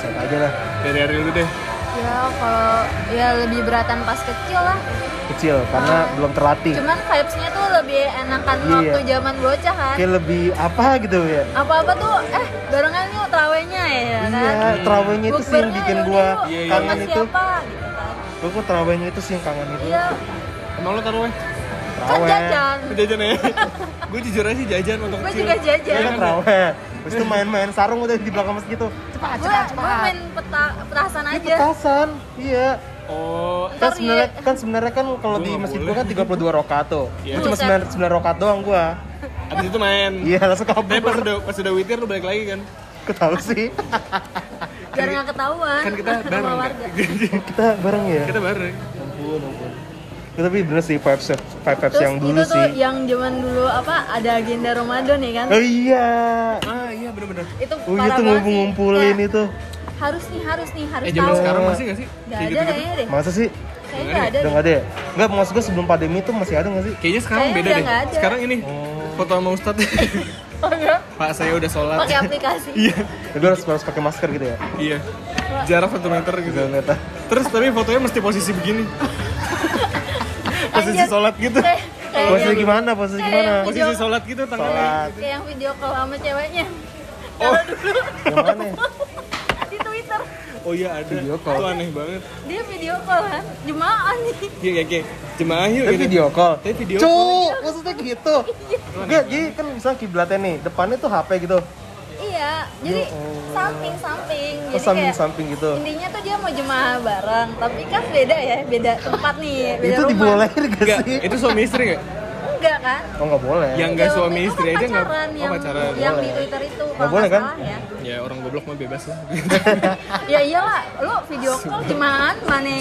Bisa aja lah. dari hari dulu deh ya kalau ya lebih beratan pas kecil lah. Kecil karena Ah. belum terlatih. Cuman vibes-nya tuh lebih enakan Iya. waktu zaman bocah kan. Kayak lebih apa gitu ya. Apa-apa tuh eh barengan yuk terawihnya ya kan. Iya, terawihnya itu sih yang Bukbernya bikin yaudah gua yuk, Iya, iya. sama kangen itu. siapa gitu kan. Gua gua terawihnya itu sih yang kangen itu. Iya, emang lo taruh eh? kan jajan. Lu jajan <laughs> ya gue jujur aja sih jajan untuk Gue juga jajan. Iya kan terawih. Terus itu main-main sarung udah di belakang masjid tuh. Cepat, Gue cepat, gue cepat. main peta petasan Ini aja. petasan. Iya. oh Ntar kan di- sebenarnya kan sebenarnya kan kalau Gua di nggak masjid boleh. gua kan 32 rakaat tuh. Iya. Gua Cuma Buset. 9 9 rakaat doang gua. abis itu main Iya, <laughs> langsung Tapi Eh, pas kabur. udah pas udah witir lu balik lagi kan? Ketahu sih. <laughs> biar nggak ketahuan Kan kita sama bareng. Kak. warga. Kita bareng ya. kita bareng. Ampun, ampun. Ya, tapi bener sih vibes vibes Terus yang dulu itu tuh sih. yang zaman dulu apa ada agenda Ramadan ya kan? Oh iya. Ah iya bener-bener. Itu Oh iya parah tuh banget sih. ngumpul-ngumpulin Kayak, itu. Harus nih, harus nih, harus Eh zaman tahu. sekarang masih gak sih? Gak Kayak ada gitu-gitu. kayaknya deh. Masa sih? Kayaknya gak ada. Udah deh. nggak ada ya? Nggak, maksud gua sebelum pandemi itu masih ada nggak sih? Kayaknya sekarang Kayaknya beda udah deh. nggak ada. Sekarang ini foto sama Ustadz. <laughs> Oh enggak? Pak saya udah sholat. Pakai aplikasi. iya. Ya, lu harus, harus pakai masker gitu ya? Iya. Jarak satu meter gitu. Jangan lihat ah. Terus tapi fotonya mesti posisi begini. Oh, posisi Anjir. sholat gitu. Kayak kayak Posisi yang- gimana? Posisi Kayak gimana? yang- Posisi sholat gitu tangannya. Sholat. kayak yang video call sama ceweknya Oh, Yang mana? ya? <laughs> di Twitter. oh iya ada. Video call. Itu aneh banget. Dia video call kan, jemaah nih. Iya iya iya. Jemaah yuk. Tapi gitu. video call. Tapi video Cu, maksudnya gitu. Enggak, jadi kan misalnya kiblatnya nih, depannya tuh HP gitu. Iya, jadi samping-samping. Terus Jadi Iya, kayak samping-samping gitu. intinya tuh dia mau jemaah bareng, tapi kan beda ya, beda tempat nih, beda Itu rumah. dibolehin gak Enggak, sih? itu suami istri gak? Enggak kan? Oh, nggak boleh. Yang gak Ya, suami itu istri kan aja nggak? pacaran Oh yang, pacaran. yang di Twitter itu kalau boleh nggak kan? salah ya. Ya orang goblok mah bebas lah. Iya. Ya iyalah, lu video call cuman mana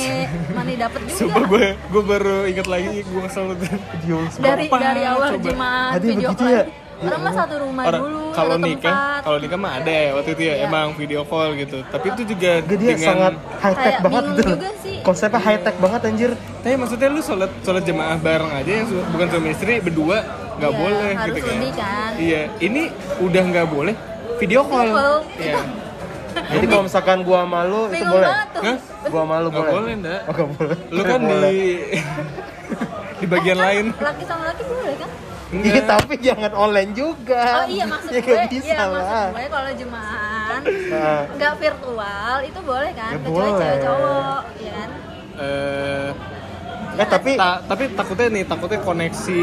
mana dapet juga. Sumpah gue, gue baru inget lagi, gue kesel tuh. Video semua. dari Sumpah, dari awal coba. jemaah Ada yang video begitu call. ya? Orang mah satu rumah dulu, Orang kalau satu nikah, tempat. kalau nikah mah ada ya waktu itu ya Iya. emang video call gitu. Tapi itu juga Enggak, dia dengan ya sangat high tech Kayak banget bingung gitu. juga sih. Konsepnya high tech banget anjir. Tapi maksudnya lu sholat sholat jemaah bareng aja yang su- bukan suami istri berdua nggak Iya, boleh harus gitu kan. lebih kan. Iya, ini udah nggak boleh video call. call. Iya. Jadi kalau misalkan gua malu itu Bingung boleh. banget tuh. Hah? Gua malu Nggak boleh. boleh, Nda. Oh, nggak boleh. Lu kan Boleh. di <laughs> di bagian lain. Eh, kan Laki sama laki boleh kan? Iya, tapi jangan online juga. Oh iya maksud Ya, gue, nggak bisa iya maksud lah. gue kalau jemaah Nah, nggak virtual itu boleh kan? Ya, Kecuali boleh. cewek cowok, ya kan? Eh, eh tapi Ta- tapi takutnya nih takutnya koneksi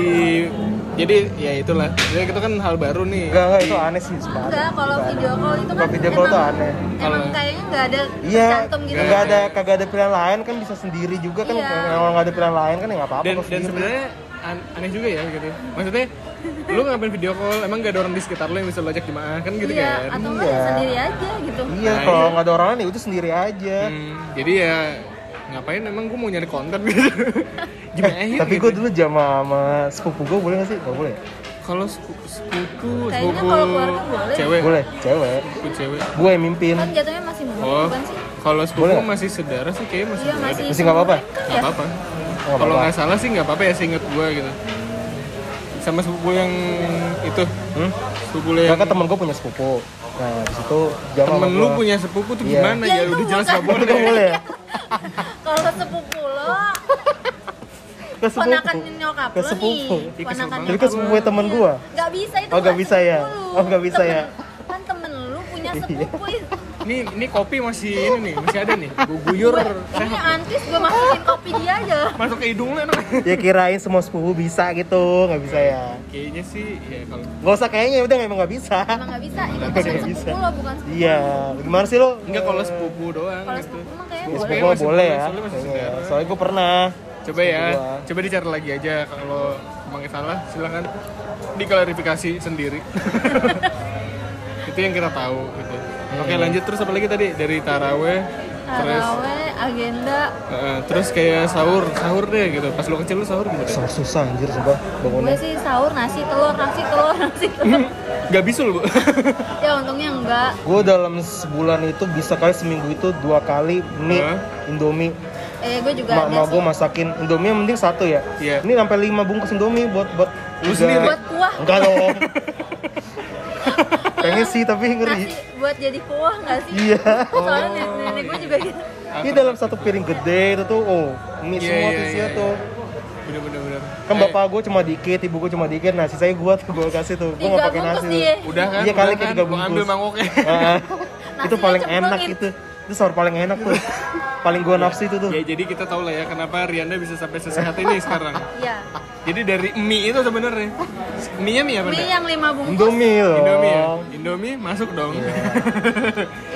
jadi ya itulah jadi itu kan hal baru nih enggak enggak itu aneh sih sebenarnya. Enggak, kalau video call itu kan Kalau video call emang, tuh aneh. emang Kalau- kayaknya nggak ada Iya, cantum gitu. nggak ada kagak ada pilihan lain kan bisa sendiri juga kan Iya. kalau nggak ada pilihan lain kan ya nggak apa-apa dan kok dan sendiri. sebenarnya an- aneh juga ya gitu maksudnya lu ngapain video call emang gak ada orang di sekitar lu yang bisa lu ajak jemaah kan gitu iya, kan atau enggak ya Iya. sendiri aja gitu. Iya, Nah, kalau iya. nggak ada orang lain ya udah sendiri aja. Hmm, jadi ya ngapain emang gue mau nyari konten <laughs> gitu jemaah yuk, Tapi gitu. gue dulu sama sama sepupu gue boleh nggak sih? Gak boleh. ya? kalau sepu- sepupu Kayaknya sepupu kalau keluarga boleh. cewek Boleh, cewek. sepupu cewek Gue yang mimpin. Kan jatuhnya masih muda oh bukan sih? kalau Boleh sepupu nggak? masih saudara sih kayaknya masih Iya boleh masih. deh. Masih nggak apa-apa? seumuran kan Nggak ya? apa-apa Oh, nggak kalau apa-apa. nggak salah sih nggak apa-apa ya seinget gue gitu sama sepupu yang itu Hmm? sepupu lu Nggak, yang kan temen gue punya sepupu. Nah, di situ jam sama Iya. temen lu gua. punya sepupu tuh Iya. gimana Ya, ya, itu udah jelas bukan. nggak boleh Nggak boleh ya? Kalau sepupu lo, Ke Iya. ponakan sepupu. nyokap lo Ke nih. sepupu. Ih, ke Ponakan sepupu. Jadi ke sepupu temen gue. Gak bisa itu. Oh, nggak bisa ya? sepupu lu. Oh, nggak bisa Temen- ya? Iya. Kan temen lu punya sepupu itu. ini ini kopi masih ini nih masih ada nih gue guyur Ini antis gue masukin kopi dia aja. masuk ke hidung lu enak Ya kirain semua sepupu bisa gitu, nggak bisa ya. kayaknya sih ya kalau Gak usah kayaknya udah emang nggak bisa. Emang gak bisa. Itu Nggak bukan bisa. sepupu lo, bukan sepupu. Iya, gimana sih lo? enggak kalau sepupu doang Kalau gitu sepupu emang kayaknya Ya, boleh. sepupu Masih boleh ya. boleh, soalnya masih Kayaknya ya. saudara. Soalnya gue pernah. coba ya Sepupu gua. coba dicari lagi aja kalau Kemangnya salah, silahkan diklarifikasi <laughs> sendiri. itu yang kita tahu. Gitu. Oke Hmm. lanjut terus apa lagi tadi dari Taraweh, Iya, terus Taraweh, agenda, eh, terus kayak sahur, sahur deh gitu. Pas lu kecil lu sahur gitu. Susah, susah anjir sumpah gue bangunnya. sih sahur nasi telur, nasi telur, <laughs> nasi telur. Gak bisul bu. <laughs> ya untungnya enggak. Gue dalam sebulan itu bisa kali seminggu itu dua kali mie Hah? Indomie. Eh gue juga Mak ada mak gue sih. masakin Indomie yang penting satu ya. Iya. Ini sampai lima bungkus Indomie buat buat Lu tiga- sendiri? Buat kuah. Enggak <laughs> dong. Pengen sih tapi Nasi ngeri. buat jadi kuah nggak sih? Iya. <laughs> Soalnya nenek, nenek gue juga gitu. Ini dalam satu piring gede itu tuh, oh, mie Iya, iya, semua tuh isinya iya, tuh. bener bener bener. Kan Eh, bapak gue cuma dikit, ibu gue cuma dikit, nah sisanya gue tuh gue kasih tuh. Gue Tiga nggak pakai bungkus nasi tuh. dia. udah kan? Iya, kali udah kayak tiga Gua ambil bungkus. mangkoknya. Ah, ah. itu Nasinya paling enak cemplungin. itu. Itu sahur paling enak tuh. Paling gue nafsu itu tuh. ya jadi kita tahu lah ya kenapa Rianda bisa sampai sesehat ini sekarang. Iya. Jadi dari mie itu sebenarnya. Mie-nya mie apa? Mie Nda? yang lima bungkus, Indomie loh. Indomie ya? Indomie masuk dong. Iya. <laughs>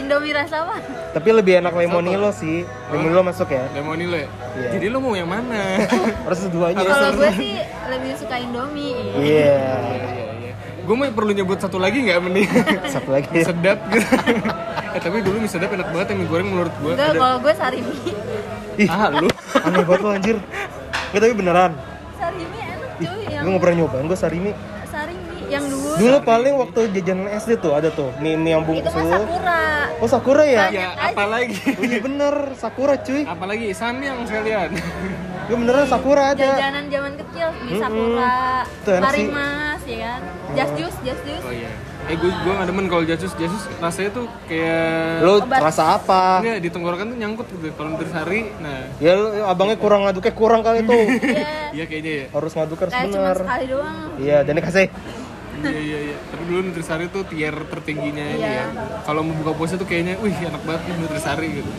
Indomie rasa apa? Tapi lebih enak lemonilo sih. Lemonilo masuk ya. Lemonilo ya? Iya. Jadi lu mau yang mana? Harus duanya. Kalau gue sih lebih suka Indomie. Iya. Iya. Gue mau perlu nyebut satu lagi nggak mending? Satu lagi. Mie <laughs> sedap gitu. eh tapi dulu mie sedap enak banget yang mie goreng menurut gue. Enggak, kalau gue sarimi. Ih, Ah lu? aneh banget lo anjir. Nggak, tapi beneran. Sarimi enak cuy yang Gue nggak pernah nyobain, gue sarimi. sarimi yang dulu. Dulu paling waktu jajanan SD tuh ada tuh mie, mie yang Itu bungkus mah dulu. sakura. Oh sakura ya? Ya apalagi Oh, Iya bener, sakura cuy. apalagi Samyang sekalian. Gue beneran sakura ada. Jajanan zaman kecil mie sakura, Itu enak sih. marimas ya kan. Jas jus, jas jus. Oh iya. Eh gue gue nggak demen kalau jasus jasus rasanya tuh kayak Lo Obat. rasa apa? Enggak, di tenggorokan tuh nyangkut gitu. Kalau terus hari, nah Ya lu- abangnya kurang ngaduknya kurang kali tuh. <laughs> Iya. iya kayaknya ya. Harus ngaduk harus Kayak cuma bener. sekali doang. Iya, dan dikasih. Iya iya iya. Tapi dulu Nutrisari tuh tier tertingginya ini Iya. ya. Kalau mau buka puasa tuh kayaknya, wih enak banget nih Nutrisari gitu.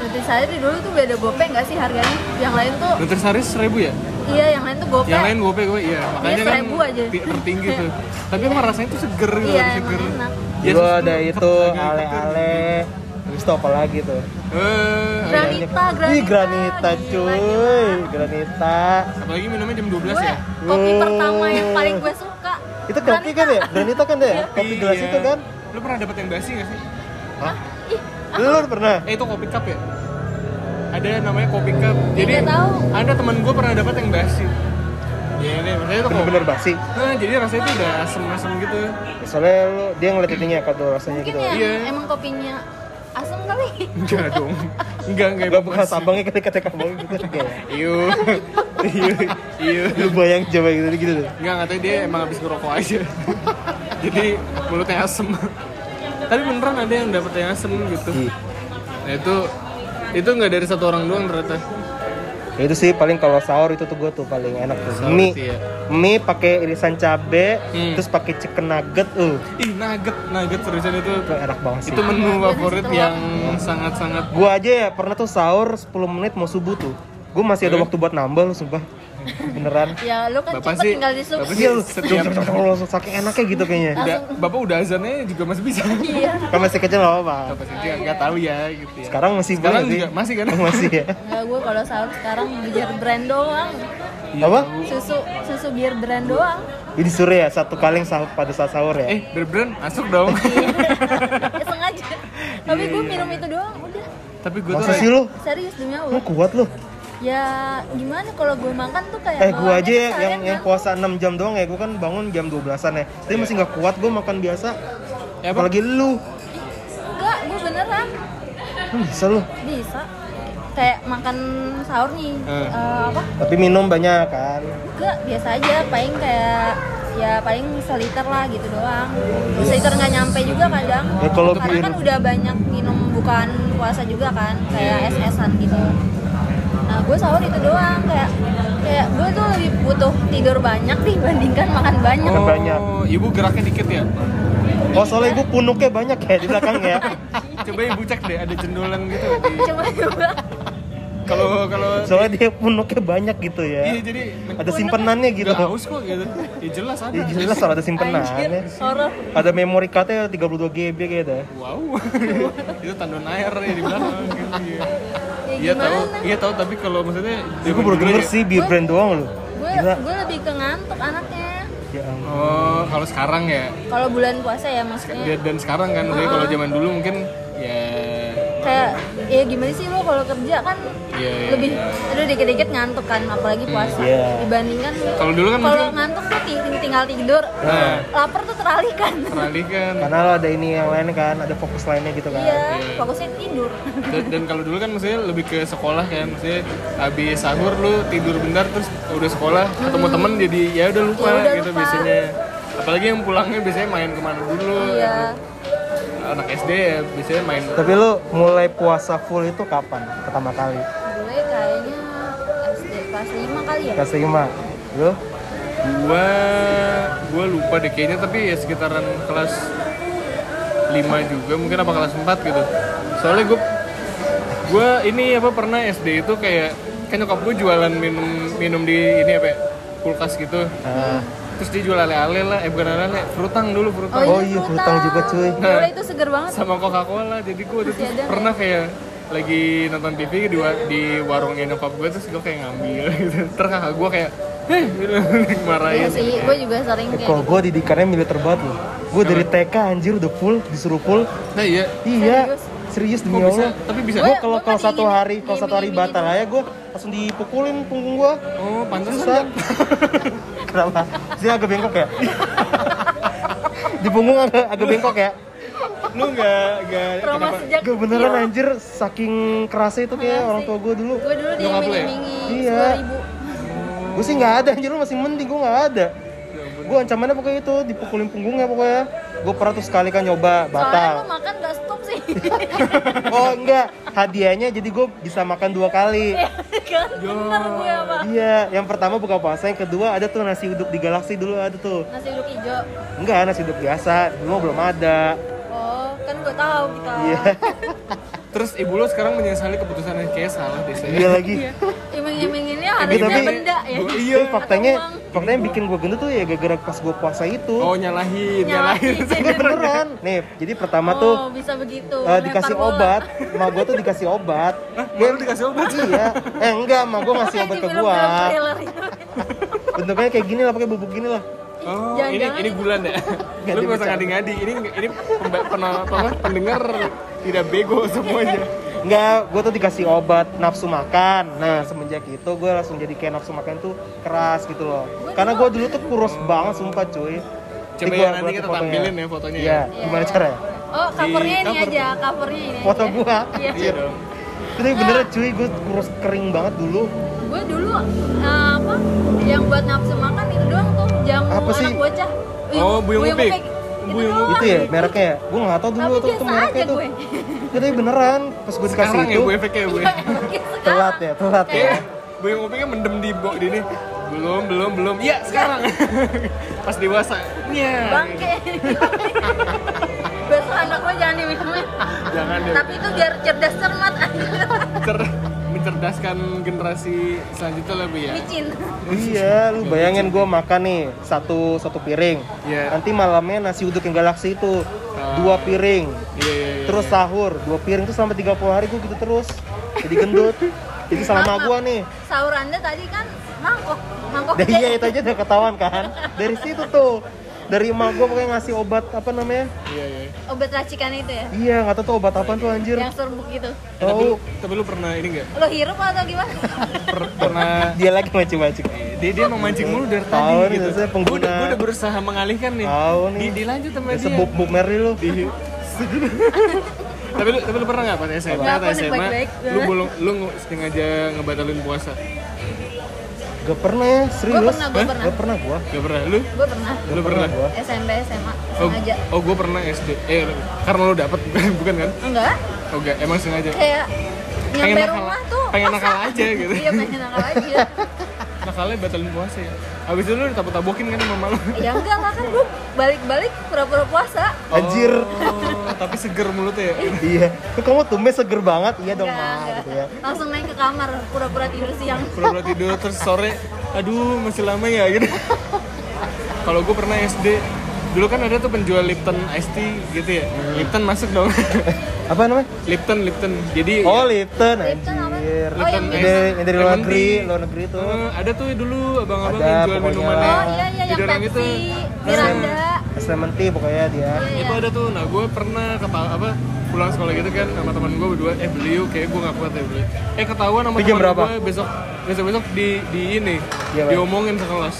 Nutrisari dulu tuh beda gope nggak sih harganya? Yang lain tuh Nutrisari seribu ya? iya, yang lain tuh gope. Yang lain gope gue, iya. Makanya kan seribu aja. ti- tertinggi tuh. Tapi emang rasanya tuh seger gitu, Iya, emang seger. enak. Ya, Dulu terus ada tuh itu agak- agak- ale-ale. Terus tuh apa lagi tuh? Eh, Granita, granita. Ih, granita Gila, cuy. gila. Granita. apalagi minumnya jam 12 Gue ya. kopi Wow. pertama yang paling gue suka. Itu kopi kan ya? Granita kan deh? Kopi gelas Iya. itu kan? Lu pernah dapet yang basi gak sih? Hah? Ih, Lu pernah? Eh itu kopi cup ya? Ada namanya kopi cup. Jadi Tidak tahu. ada teman gue pernah dapat yang basi. Iya, ini maksudnya itu kopi. Bener-bener basi. Nah, jadi rasanya tuh udah asem-asem gitu. Soalnya lu dia ngeliat itunya kado rasanya mungkin gitu. ya Iya. emang kopinya asam kali. <laughs> Enggak dong. Enggak, enggak Gak bekas abangnya ketika abangnya gitu juga ya. Iyo. Iyo. Iyo. Lu bayang coba gitu gitu deh. Enggak, katanya dia emang habis ngerokok aja. jadi mulutnya asem. Tapi beneran ada yang dapat yang asem gitu. Ih. Nah, itu itu nggak dari satu orang doang ternyata. Ya itu sih paling kalau sahur itu tuh gue tuh paling enak tuh. Sahur mie, sih ya. mie pakai irisan cabe, Hmm. terus pakai chicken nugget, uh, Ih, nugget, nugget seriusan itu itu enak banget sih. Iya, itu menu favorit yang sangat-sangat Gue aja ya pernah tuh sahur 10 menit mau subuh tuh. Gue masih ada Hmm. waktu buat nambah lu sumpah. <laughs> Beneran. Ya lu kan cepet Bapak sih- tinggal di sub. Bapak sih- Iya lu, Setiap- <laughs> kalau langsung saking enaknya gitu kayaknya. Udah, bapak udah azannya juga masih bisa. Iya. Kan masih kecil gak apa-apa. Bapak sih nggak nggak tahu ya gitu ya. Sekarang masih Sekarang boleh juga sih. masih kan? <laughs> Masih ya. Enggak gue kalau sahur sekarang biar brand doang. Iya, Apa? tahu. Susu susu biar brand doang. Ini sore ya, satu kaleng sahur pada saat sahur ya. Eh, Iya. berbrand masuk dong. Ya sengaja. Tapi gue minum itu doang udah. Tapi gue tuh Masa sih lu? Serius demi Lu Allah. kuat lu. Ya gimana kalau gue makan tuh kayak Eh gua bawaannya aja ya tuh yang seharian kan? yang nggak- puasa 6 jam doang ya, gua kan bangun jam 12-an ya. Tapi masih nggak kuat gua makan biasa. Ya, Iya. apa? Apalagi lu. Enggak, gue beneran Hmm, bisa lu. bisa. Kayak makan sahur nih. Eh. eh, apa? Tapi minum banyak kan. Enggak, biasa aja paling kayak ya paling seliter lah gitu doang. Seliter nggak nyampe juga kadang. Ya, kalau Karena kan bir- udah banyak minum bukan puasa juga kan, Iya. kayak es-esan gitu. Nah, gue sahur itu doang kayak kayak gue tuh lebih butuh tidur banyak dibandingkan makan banyak. <laughs> Oh. banyak. Ibu geraknya dikit ya. Oh soalnya gua punuknya banyak ya di belakang ya. <laughs> Coba ibu cek deh ada jendolan gitu. Coba coba. Kalau kalau Soalnya dia punuknya banyak gitu iya ya. jadi Ada simpenannya gitu. udah haus kok gitu. Ya jelas ada. Ya, jelas soal ada Anjir, simpenannya. horor. Ada memori cardnya 32 GB gitu ya. Wow. <laughs> itu tandon air ya di belakang gitu ya. Ya, Iya tahu, gimana? iya tahu tapi kalau maksudnya Ya, gua baru denger sih bir brand doang lu. Gue Gila. gue lebih ke ngantuk anaknya Ya ampun. Oh, kalau sekarang ya. kalau bulan puasa ya maksudnya Dan, dan sekarang kan, maksudnya kalau zaman dulu mungkin ya kayak ya gimana sih lo kalau kerja kan ya, ya, lebih ya. aduh dikit-dikit ngantuk kan apalagi puasa Iya. dibandingkan Kalau dulu kan kalau mungkin ngantuk tuh ting- tinggal tidur nah, lapar tuh kan. teralihkan Nah, peralihan. Karena lo ada ini yang lain kan, ada fokus lainnya gitu kan. iya fokusnya tidur Dan, dan kalau dulu kan maksudnya lebih ke sekolah kan, maksudnya habis sahur lu tidur bentar terus udah sekolah ketemu temen jadi ya udah lupa Hmm. Ya udah gitu lupa. biasanya. Apalagi yang pulangnya biasanya main kemana dulu. iya Anak SD ya biasanya main Tapi lo mulai puasa full itu kapan pertama kali? gue kayaknya SD kelas 5 kali ya Kelas 5. Lo? gua gua lupa deh kayaknya tapi ya sekitaran kelas 5 juga mungkin apa kelas 4 gitu soalnya gua gua ini apa pernah SD itu kayak kan nyokap gua jualan minum minum di ini apa ya, kulkas gitu Ah, terus dia jual ale-ale lah eh bukan ale-ale frutang dulu frutang Oh iya, berutang juga, cuy. Nah. Gila, itu seger banget sama Coca-Cola jadi gua waktu itu iya. Masih ada pernah kayak lagi nonton TV di, wa- di warungnya nyokap gua terus gua kayak ngambil <laughs> gitu terus kakak gua kayak heh gitu, <laughs> ya. Iya marahin sih, gue juga sering eh, kayak kalau gue didikannya militer banget loh. Gue dari TK anjir udah full, disuruh full. nah iya Iya, serius demi Kok bisa? Allah. Tapi bisa. Gue Gua- kalau gua kalau masih satu gini, hari kalau gini, satu hari gini, batal aja gue langsung dipukulin punggung gue. Oh, Susah. pantesan. <laughs> Kenapa? Sini agak bengkok ya. <laughs> Di punggung agak agak bengkok ya. Lu enggak enggak trauma sejak Gak beneran anjir saking kerasnya itu kayak orang tua gue dulu. Gue iya, dulu Nyokap lu ya? diiming-imingi Iya. 10 ribu Gue sih nggak ada anjir lu masih mending gue nggak ada. Gue ancamannya pokoknya itu dipukulin punggungnya pokoknya. Gue pernah tuh sekali kan Soalnya nyoba lo batal. makan gak stop sih <laughs> Oh enggak, hadiahnya jadi gue bisa makan dua kali. Kan bener gue apa Iya, yang pertama buka puasa, yang kedua ada tuh nasi uduk di Galaksi dulu ada tuh. Nasi uduk hijau Enggak, nasi uduk biasa, dulu belum ada. Oh, kan gue tahu kita Iya. Terus ibu lu sekarang menyesali keputusannya kayak salah deh saya. Iya lagi. <laughs> Iming-iminginnya Tapi harusnya Iya, tapi benda ya Iya, faktanya Atau uang. faktanya yang bikin gue gendut tuh ya gara-gara pas gue puasa itu. Oh, nyalahin, Nyalahin. nyalahin. <laughs> Enggak beneran. Nih, jadi pertama Iya, tuh iya, Oh, bisa begitu eh, lempar dikasih bola. <laughs> obat, ma gue tuh dikasih obat. <laughs> Baru dikasih obat. iya. Eh enggak, ma gue ngasih Kayak obat di ke gue. film-film thriller gitu. Bentuknya kayak gini lah, pakai bubuk gini lah. Oh, ini Jangan-jangan ini bulan ya. Nggak Lu enggak usah dibicara. ngadi-ngadi. Ini ini pemba- pena- apa, pendengar tidak bego semuanya. Enggak, gue tuh dikasih obat nafsu makan. Nah, semenjak itu gue langsung jadi kayak nafsu makan tuh keras gitu loh. Karena gue dulu tuh kurus banget sumpah cuy. Jadi Coba gua- ya nanti gua kita tuh fotonya. tampilin ya fotonya. Iya, Iya. gimana caranya? Oh, covernya ini cover. aja, covernya ini Foto aja. gua. Iya. Iya dong. Tapi beneran cuy, gue kurus kering banget dulu. gue dulu eh, apa yang buat nafsu makan itu doang tuh jamu Apa sih? anak bocah Buyung- Oh, buyung upik. itu Buyung doang. Itu ya mereknya ya? Gue gak tau dulu gitu. <laughs> Tapi tuh, tuh biasa mereknya aja tuh. gue. Tapi beneran, pas gue dikasih Sekarang ya itu, gue efeknya gue. <laughs> Sekarang. telat ya, telat ya. Kayak gue ngupingnya mendem di bok di ini. Belum, belum, belum. Iya, sekarang. <laughs> Pas dewasa. Iya. bangke <laughs> besok anak gue jangan ya. diminumin Jangan deh. tapi itu biar cerdas cermat <laughs> anjir Cer- mencerdaskan generasi selanjutnya lebih ya. micin Iya, lu bayangin gue makan nih satu satu piring. Iya. Ah. Nanti malamnya nasi uduk yang galaksi itu dua piring. Iya, iya, iya. Terus sahur, dua piring tuh selama 30 hari gue gitu terus. Jadi gendut. Jadi sama Sama. gua nih. sahur anda tadi kan mangkok mangkok Dari gede. iya itu aja udah ketahuan kan. Dari situ tuh. Dari emak gua pokoknya ngasih obat apa namanya? Iya, iya. obat racikan itu ya Iya, nggak tahu tuh obat apa tuh anjir. yang serbuk gitu Eh, Tapi lu, Tahu. tapi lu pernah ini enggak? lo hirup atau <laughs> gimana pernah Dia lagi macam-macam. Iya. dia dia memancing mulu dari tadi Tahu nih, gitu. saya Gue pengguna. udah, gua udah berusaha mengalihkan nih. Tahu nih. Di, dilanjut sama dia. Sebuk buk Mary lu. Di- tapi lu tapi lu pernah nggak pas SMA Nggak, atau aku nih SMA baik-baik. lu belum lu nge- sengaja ngebatalin puasa Gak pernah ya, serius. Gua pernah, gua Hah? pernah. Gak pernah gua. gak pernah lu gue pernah Gak Lu pernah? gua. SMP SMA oh, sengaja oh gue pernah SD eh karena lu dapet <laughs> bukan kan enggak oh enggak emang sengaja kayak Pengen nyampe nakal- rumah tuh pengen masa- nakal aja gitu. iya pengen nakal aja nakalnya Nah, batalin puasa ya abis itu lu ditabok-tabokin kan sama mama lu ya enggak lah kan gue balik-balik pura-pura puasa Anjir. Oh, <laughs> tapi seger mulutnya ya Iya. Kok kamu tumben seger banget? Iya dong, enggak, Ma, enggak. gitu ya. langsung naik ke kamar pura-pura tidur siang pura-pura tidur terus sore aduh masih lama ya gitu kalau gue pernah SD dulu kan ada tuh penjual Lipton Ice Tea gitu ya Lipton masuk dong <laughs> Apa namanya? Lipton Lipton jadi Oh, Lipton Lipton anjir. apa anjir. Oh, yang Ini biasa. dari- ini dari luar Lemon negeri, tea. luar negeri tuh. Eh, ada tuh dulu abang-abang Ada, yang jual pokoknya. minuman Oh iya iya yang Eh, Tiduran gitu. itu. Eh, Pepsi, Es lem- Miranda. Es lemon tea pokoknya dia. Iya iya. itu ada tuh nah gue pernah ketawa apa pulang sekolah gitu kan sama teman gue berdua eh beli yuk kayak gue gak kuat ya beli eh ketahuan sama Itu jam teman berapa? gue besok besok besok di di ini Iya, Bang. diomongin sekelas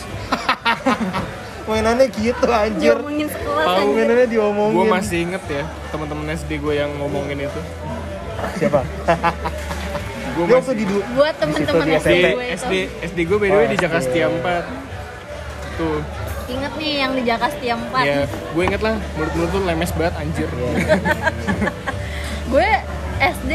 Mainannya gitu anjir. Diomongin sekelas Tahu, anjir. Mainannya diomongin. gue masih inget ya teman-teman SD gue yang ngomongin itu <laughs> Siapa? gue Dia waktu masih di du- Buat temen-temen Di SD situ di gue itu. SD SD gue by the way Oh, di Jakarta SD. Setia 4 tuh Ingat nih yang di Jakarta setiap empat. ya gue inget lah menurut mulut tuh lemes banget anjir Gue SD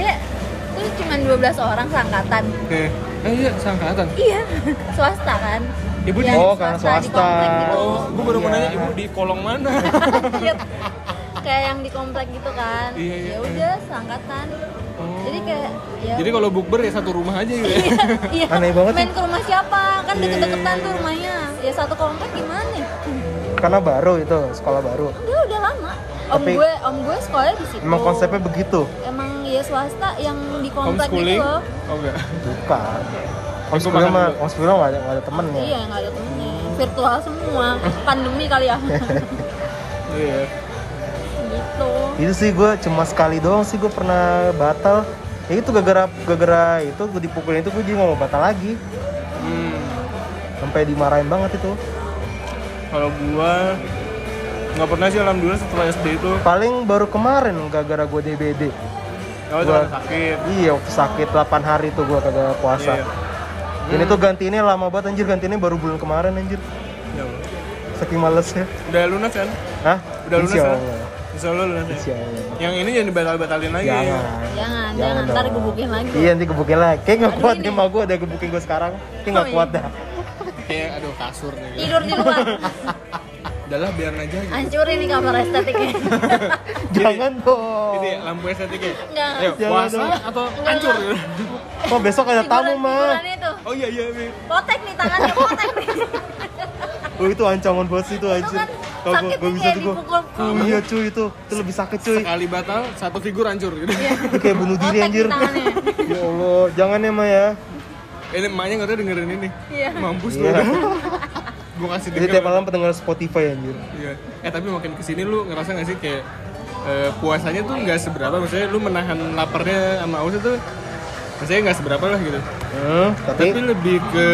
tuh cuma 12 orang seangkatan. eh eh, iya seangkatan Iya, <laughs> swasta kan. Ibu di- Iya, Oh, karena Di swasta. komplek gitu. oh gue baru mau Iya. nanya ibu di kolong mana <laughs> Iya. kayak yang di komplek gitu kan. Iya, iya. Ya udah, seangkatan. Oh. Jadi kayak ya jadi kalau bukber ya satu rumah aja gitu ya <laughs> <laughs> Iya. Aneh banget Main ya. ke rumah siapa? Kan Iya, deket-deketan iya, tuh rumahnya. Ya satu komplek gimana? Karena baru itu, sekolah baru. Udah udah lama. Om Tapi- gue om gue sekolah di situ. Emang konsepnya begitu? Emang ya swasta yang di komplek gitu homeschooling loh. oh enggak <laughs> Eh, makan Bukan. Homeschooling mah, dulu. homeschooling nggak ada, nggak ada temennya. Iya, nggak ada temennya. Virtual semua. Pandemi kali <laughs> ya. iya gitu. Itu sih gue cuma sekali doang sih gue pernah batal. Ya itu gara-gara gara-gara itu gue dipukulin itu gue jadi nggak mau batal lagi. hmm. Sampai dimarahin banget itu. kalau gua nggak pernah sih alhamdulillah setelah SD itu Paling baru kemarin gara-gara gue DBD. kalau Gua- jangan sakit Iya, waktu sakit 8 hari tuh gue kagak puasa. Iya. Dan itu gantiinnya lama banget anjir, gantiinnya baru bulan kemarin anjir. Ya Allah. Saking malesnya. udah lunas kan Hah? Udah lunas, Insya kan? Allah. insya Allah lunas ya Insya Allah. yang ini jangan dibatal-batalin lagi Jangan. Jangan, jangan, dong. ntar gebukin lagi. Iya, nanti gebukin lagi. Kayak nggak Aduh, kuat ini. nih mah gue udah gebukin gue sekarang. Kayak nggak Oh, kuat iya. dah. <laughs> kayak aduh kasur nih gitu. Tidur di luar. udah lah biarin aja gitu Hancurin nih kamar ya. estetiknya. Jangan dong. Gitu ya, lampu estetiknya Nggak. ayo Jangan puasa dong. atau hancur Oh besok ada tamu mah. Figuran itu. oh iya iya Mi. Potek nih tangannya, potek nih. Oh itu ancaman buat sih itu Itu anjir. kan Kalau gua- sakitnya gua bisa kayak tuh gua- dipukul. Iya cuy itu, itu lebih sakit cuy. sekali batal satu figur hancur gitu Itu kayak bunuh Potek diri di anjir. tangannya. Ya Allah, jangan ya Ma ya. ini emaknya nggak tahu dengerin ini Iya. mampus Iya. lu gue kasih Jadi denger. tiap malam pendengar Spotify anjir. Iya. Eh tapi makin kesini lu ngerasa nggak sih kayak eh, puasanya tuh nggak seberapa, maksudnya lu menahan laparnya sama haus itu maksudnya nggak seberapa lah gitu. Hmm, tapi Tapi lebih ke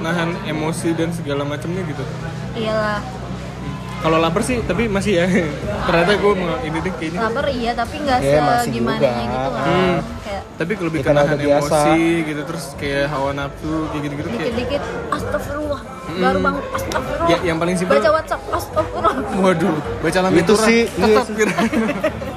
nahan emosi dan segala macamnya gitu. Iyalah, Kalau lapar sih, tapi masih ya. <laughs> Ternyata gue ini deh kayaknya. lapar iya tapi nggak Iya, masih segimana juga. gitu lah. Hmm. Kayak Tapi kalau lebih Ya, ke karena nahan udah biasa. emosi gitu, terus kayak hawa nafsu kayak gitu-gitu kayak. dikit-dikit astagfirullah, Hmm. baru bangun astagfirullah. Iya, Ya, yang paling simpel. iya. Baca WhatsApp astagfirullah. Waduh, baca lambe Itu sih, <laughs> iya tetap sih. gitu.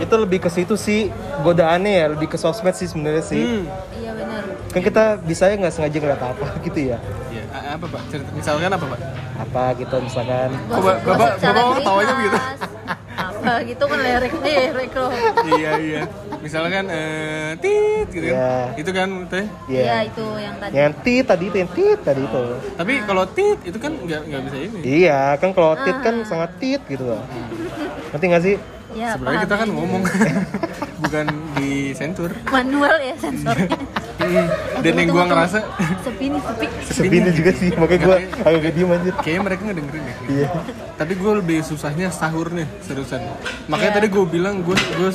itu lebih ke situ sih godaannya ya, lebih ke sosmed sih sebenarnya sih. Hmm. Iya benar. Kan kita bisa ya nggak sengaja ngeliat apa <laughs> gitu ya. Ya, a- apa pak? Cerita, misalkan apa pak? Apa gitu misalkan. Kok ba- bapak- secara bapak tawanya beringas. begitu? Apa gitu kan lirik lirik loh. iya iya. Misalkan eh tit gitu kan. Iya. Itu kan teh. Iya Iya. itu yang tadi. Yang tit tadi itu, yang tit tadi itu. Tapi kalau tit itu kan nggak nggak bisa ini. Iya, kan kalau tit kan Ah. sangat tit gitu loh. Nanti nggak sih? Ya, paham. Sebenarnya kita kan ngomong <laughs> bukan di sentur. manual ya sensornya. <laughs> Dan yang gua ngerasa sepi nih sepi. Sepinnya juga sih, makanya <laughs> gue agak diem anjir. kayaknya mereka nggak dengerin deh. Iya. Tapi gue lebih susahnya sahur nih seriusan. Iya. Makanya tadi gue bilang gue gue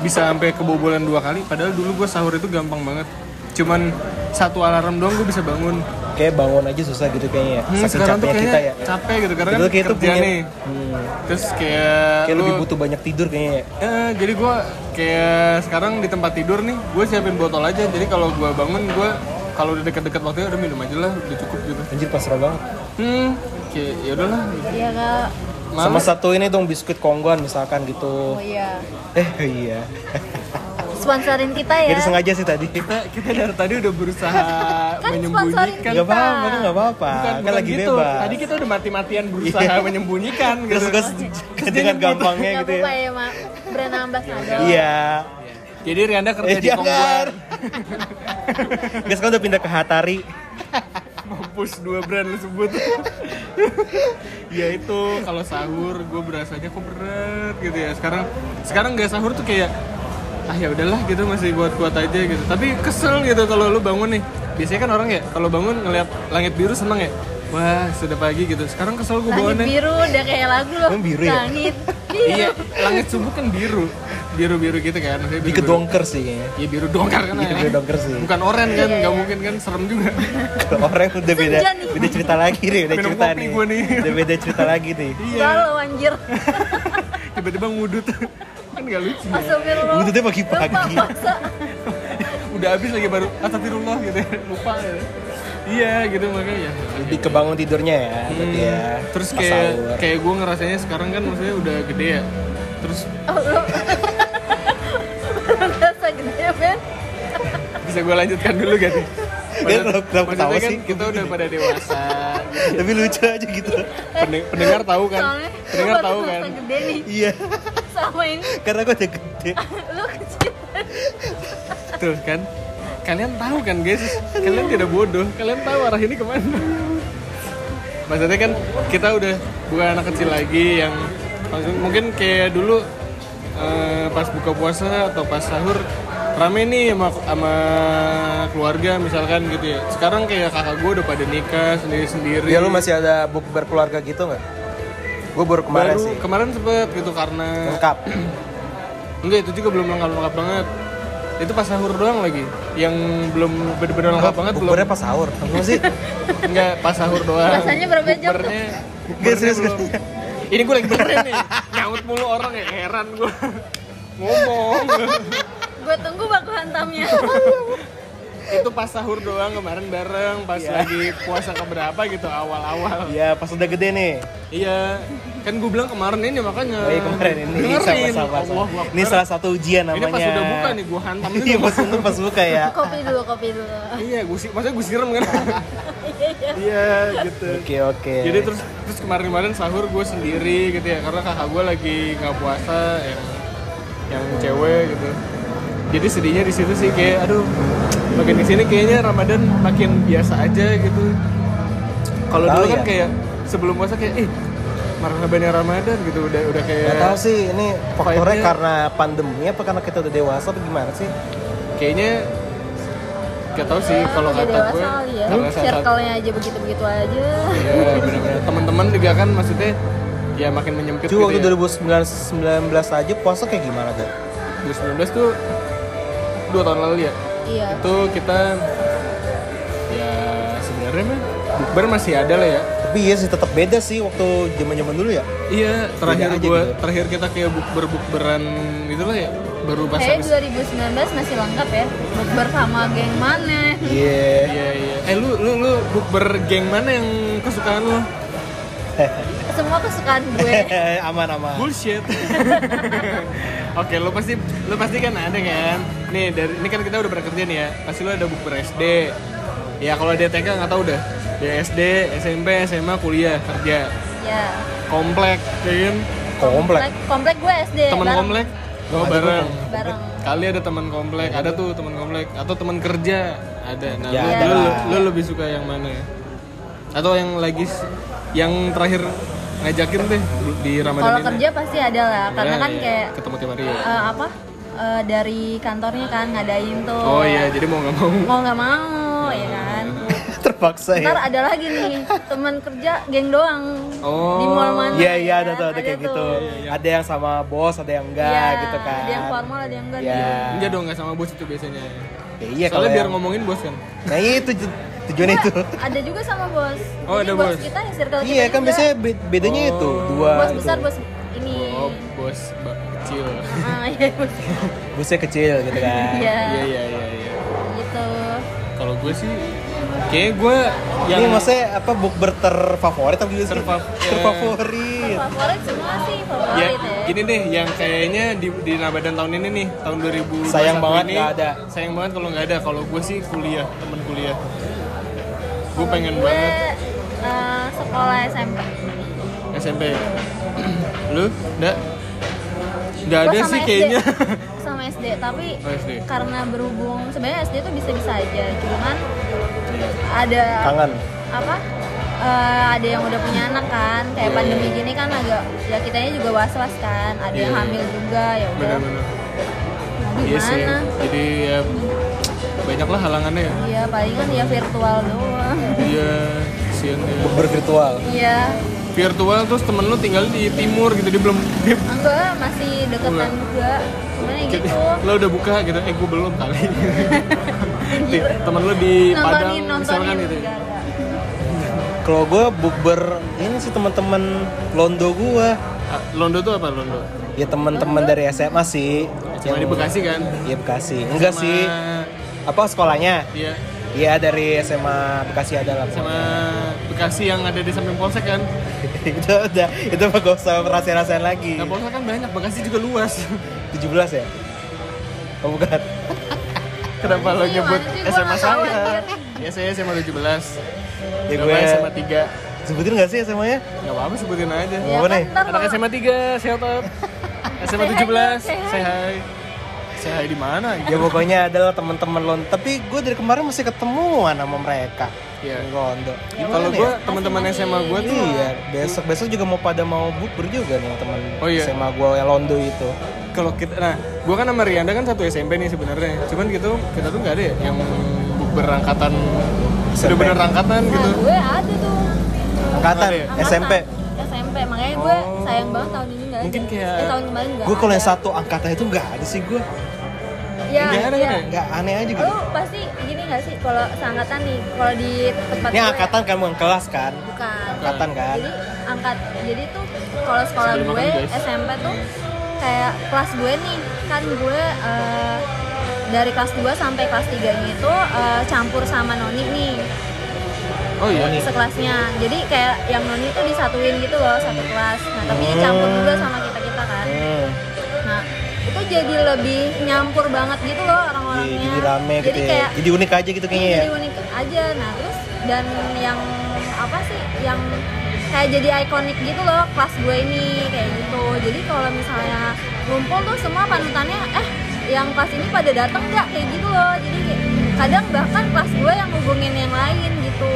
bisa sampai kebobolan dua kali. Padahal dulu gue sahur itu gampang banget. Cuman satu alarm doang gue bisa bangun. Kayak bangun aja susah gitu kayaknya ya. Hmm, Saking sekarang tuh capeknya kayaknya kita ya. capek gitu karena Itu kan kayak itu kerja punya- nih. Hmm. Terus kayak, Kayak lu- lebih butuh banyak tidur kayaknya ya. Eh, jadi gue kayak sekarang di tempat tidur nih, gue siapin botol aja. Jadi kalau gue bangun, gue kalau udah deket-deket waktunya udah minum aja lah, udah cukup gitu. Anjir pasrah banget. Hmm, kayak ya udahlah. Iya kak. Sama Males. satu ini dong biskuit kongguan misalkan gitu. Oh iya. Eh iya. Sponsorin kita ya. Jadi sengaja sih tadi. Kita kita dari tadi udah berusaha Kan menyembunyikan. sponsorin. Gak apa-apa, kan gak apa-apa. Bukan, Kan bukan lagi gitu. bebas. Iya. Tadi kita udah mati-matian berusaha menyembunyikan gitu. Terus <laughs> gue dengan gampangnya Gak gitu ya. apa-apa ya, Mak. Brand ambassador. Iya. Jadi Rianda kerja Eh di Kongguan. jangan. <laughs> Guys sekarang udah pindah ke Hatari. Mampus dua brand lu sebut. <laughs> ya itu kalau sahur gue berasanya kok berat gitu ya. Sekarang sekarang nggak sahur tuh kayak ah ya udahlah gitu masih buat kuat aja gitu tapi kesel gitu kalau lu bangun nih biasanya kan orang ya kalau bangun ngelihat langit biru seneng ya wah sudah pagi gitu sekarang kesel gue Langit bawaannya biru udah kayak lagu loh. Emang biru ya? Langit biru. iya langit subuh kan biru biru biru gitu kan maksudnya Di biru-biru. kedongker sih kayaknya. Iya biru dongkar kan Iya, ya. biru dongker sih. Bukan oren kan, nggak mungkin kan serem juga. Kalau orang udah beda, Senja nih. beda cerita lagi nih, beda Minum cerita kopi nih. gua nih. Udah beda cerita lagi nih. Iya. Galau <laughs> anjir. Tiba-tiba ngudut. kan nggak lucu. Astagfirullah. Udutnya pagi-pagi. Lupa puasa. Udah habis lagi baru astagfirullah gitu. ya. Lupa ya. Iya gitu makanya. Lebih kebangun tidurnya ya, Hmm, berarti ya. terus pas sahur. kayak kayak gue ngerasanya sekarang kan maksudnya udah gede ya. Terus Oh, lu. Rasa gede men. bisa gue lanjutkan dulu gak nih? Dia Maksud- kenapa ketawa maksudnya kan sih? kita udah pada dewasa. Tapi lucu aja gitu. Pendeng- pendengar tahu kan? Soalnya lu Pendengar baru tahu rasa kan? gede nih iya, sama ini. karena gua udah gede. Lu kecil. Tuh kan? Kalian tahu kan guys? Kalian tidak bodoh. Kalian tahu arah ini kemana. Maksudnya kan kita udah bukan anak kecil lagi yang langsung mungkin kayak dulu eh, pas buka puasa atau pas sahur rame nih sama, sama keluarga misalkan gitu ya. Sekarang kayak kakak gue udah pada nikah sendiri-sendiri. Ya lu masih ada buk berkeluarga gitu nggak? Gue baru kemarin Baru sih. kemarin sempet gitu karena Lengkap. Enggak, itu juga belum lengkap-lengkap banget. Itu pas sahur doang lagi. Yang belum bener-bener lengkap banget belum. Bukbernya pas sahur. Apa <laughs> sih? Enggak, pas sahur doang. Rasanya berapa jam tuh? Bukbernya- Enggak, bukbernya serius, belum. Ini gue lagi benerin nih. Nyaut mulu orang ya, heran gue. Ngomong. Gue tunggu baku hantamnya. itu pas sahur doang kemarin bareng, pas lagi puasa keberapa gitu awal-awal. Iya, pas udah gede nih. Iya, kan gue bilang kemarin ini makanya. Oh iya kemarin ini Dengerin. sama-sama. Allah, sama. Ini salah satu ujian Ini namanya. pas udah buka nih, gua hantam Iya, juga. pas untung pas buka ya. kopi dulu, kopi dulu. Iya, gue sih, maksudnya gue siram kan. Iya, iya. Iya, gitu. Oke, oke. Jadi terus terus kemarin-kemarin sahur gue sendiri gitu ya karena kakak gue lagi nggak puasa yang yang cewek gitu. Jadi sedihnya di situ sih kayak aduh makin di sini kayaknya Ramadan makin biasa aja gitu. Kalau Tahu dulu kan ya? kayak sebelum puasa kayak ih marhaban ya Ramadan gitu udah udah kayak Gak tahu sih ini faktornya Vibe-nya- karena pandemi apa karena kita udah dewasa atau gimana sih? kayaknya gak tahu sih kalau Udah kata gue Iya, dewasa kali ya. karena saat- Circle-nya aja begitu-begitu aja. Iya, benar-benar. Teman-teman juga kan maksudnya ya makin menyempit Cuy waktu gitu ya. 2019 19 aja puasa kayak gimana tuh? 2019 tuh dua tahun lalu ya. Iya. Itu kita ya sebenarnya mah bukber masih ada lah ya. Tapi iya sih tetap beda sih waktu zaman-zaman dulu ya. Iya, terakhir aja gua gitu. terakhir kita kayak bukber bukberan gitu lah ya. Baru pas Kayaknya habis. 2019 masih lengkap ya. Bukber sama geng mana? Iya. <laughs> Iya, iya. Eh lu lu lu bukber geng mana yang kesukaan lu? Semua kesukaan <laughs> gue. aman aman. Bullshit. <laughs> Oke, lu pasti lu pasti kan ada kan. Nih, dari ini kan kita udah pernah kerja nih ya. Pasti lu ada bukber SD. Ya kalau ada TK nggak tahu dah. Ya SD, SMP, SMA, kuliah, kerja. ya. komplek Iya. ya kan Komplek. Komplek gue SD. teman bareng. komplek oh bareng Bareng. kali ada teman komplek ada tuh teman komplek atau teman kerja ada nah Ya, lu, lu, ada. lu lebih suka yang mana ya atau yang lagi s- yang terakhir ngajakin deh di Ramadan Kalau ini kerja pasti ada lah, karena Ya, kan ya, kayak ketemu tiap hari ya eh, apa eh, dari kantornya kan ngadain tuh. oh iya jadi mau nggak mau Mau nggak mau, ya <laughs> kan. <laughs> Terpaksa ya. Ntar ada lagi nih teman kerja geng doang Oh. di mall mana? Iya iya ya ada kan? tuh ada kayak tuh. gitu. Iya, Ada yang sama bos, ada yang enggak Iya, gitu kan. Ada yang formal, ada yang enggak. gitu. Iya. enggak dong nggak sama bos itu biasanya Ya, iya kalau soalnya biar yang- ngomongin bos kan Nah itu ju- tujuannya itu. <laughs> Ada juga sama bos. Oh, Jadi ada bos. bos. kita circle kita Iya kan juga. Oh. biasanya be- bedanya itu dua. gitu. bos itu. besar, bos ini. oh bos ba- kecil Ah, iya, bos. Bosnya kecil gitu kan. <laughs> Iya, iya iya iya iya gitu. kalau gue sih kayak gue yang eh, Ini maksudnya apa bukber terfavorit atau gimana sih? Terfa- <laughs> terfavorit. Favorit semua sih ya favorit ya. gini deh yang kayaknya di di Ramadan tahun ini nih tahun 2000 Sayang banget nggak ada. sayang banget kalau nggak ada kalau gue sih kuliah temen kuliah gue pengen gue banget eh, sekolah SMP SMP <clears throat> lu nggak nggak Gue ada sama sih SD. kayaknya <laughs> sama SD tapi Oh, SD. karena berhubung sebenarnya SD tuh bisa-bisa aja cuman ada Kangen. apa eh, ada yang udah punya anak kan kayak Iya, pandemi gini kan agak ya kitanya juga was was kan ada yang Iya, hamil juga ya udah bener-bener Nah, Iya sih. Gimana? Jadi ya banyak lah halangannya ya. Iya palingan ya virtual doang. Iya, kesian ya. bervirtual Iya. Virtual terus temen lu tinggal di timur gitu dia belum dia Enggak masih deketan juga. Cuman ya Kayak, gitu. lo udah buka gitu eh gue belum <laughs> kali Di- temen lo di Padang Nontonin nontonin. misalkan gitu Enggak, enggak. kalau gue bukber ini sih teman-teman londo gue Ah, Londo tuh apa Londo ya teman-teman dari SMA sih cuma di Bekasi kan ya Bekasi enggak Sama- sih apa sekolahnya iya Iya dari SMA Bekasi ada lah sama Bekasi yang ada di samping Polsek kan <laughs> itu udah itu mah gak usah rasain-rasain lagi nah Polsek kan banyak Bekasi juga luas <laughs> 17 ya oh bukan kenapa lo Gimana nyebut sih? Iya, Gua SMA nggak tahu, saya anjir. ya saya SMA 17 ya Gak gue apa-apa, SMA 3 sebutin gak sih SMA nya Gak apa-apa sebutin aja Ya Apa kan nih? ntar Anak kalau- SMA 3, shout <laughs> out SMA Say hi 17, dong, say hi. say hi Say hi di mana? ya pokoknya adalah teman-teman lon tapi gue dari kemarin masih ketemuan sama mereka Iya. londo Gimana Kalau ya? gue teman-teman SMA gue tuh iya besok besok juga mau pada mau bukber juga nih teman Oh, iya. SMA gue yang londo itu kalau kita nah gue kan sama Rianda kan satu SMP nih sebenarnya cuman gitu kita tuh nggak ada ya yang berangkatan SMP. sudah bener angkatan Nah, gitu gue ada tuh. angkatan Ada ya? Angkatan. SMP SMP makanya gue Oh. sayang banget tahun ini nggak ada. Mungkin kayak- Eh, tahun kemarin nggak gue kalau yang ada. satu angkatan itu nggak ada sih gue Iya, Nggak ada iya. kan nggak aneh aja gitu Lu pasti gini nggak sih kalau seangkatan nih kalau di tempat ini gue- angkatan kan bukan kelas kan bukan. angkatan kan Jadi angkat jadi tuh kalau sekolah Sebelum gue makan, guys. SMP tuh kayak kelas gue nih kan gue eh, dari kelas 2 sampai kelas 3 nya itu eh, campur sama noni nih oh iya sekelasnya jadi kayak yang noni tuh disatuin gitu loh satu kelas nah tapi dicampur juga Oh. sama kita kita kan Hmm. Nah, itu jadi lebih nyampur banget gitu loh Eh, Jadi, orang-orangnya. jadi rame jadi gitu ya kayak jadi unik aja gitu kayaknya ya jadi unik aja. Nah, terus dan yang apa sih yang kayak jadi ikonik gitu loh kelas gue ini kayak gitu. Jadi kalau misalnya ngumpul tuh semua panutannya eh yang kelas ini pada datang nggak kayak gitu loh. Jadi kayak- kadang bahkan kelas gue yang hubungin yang lain gitu.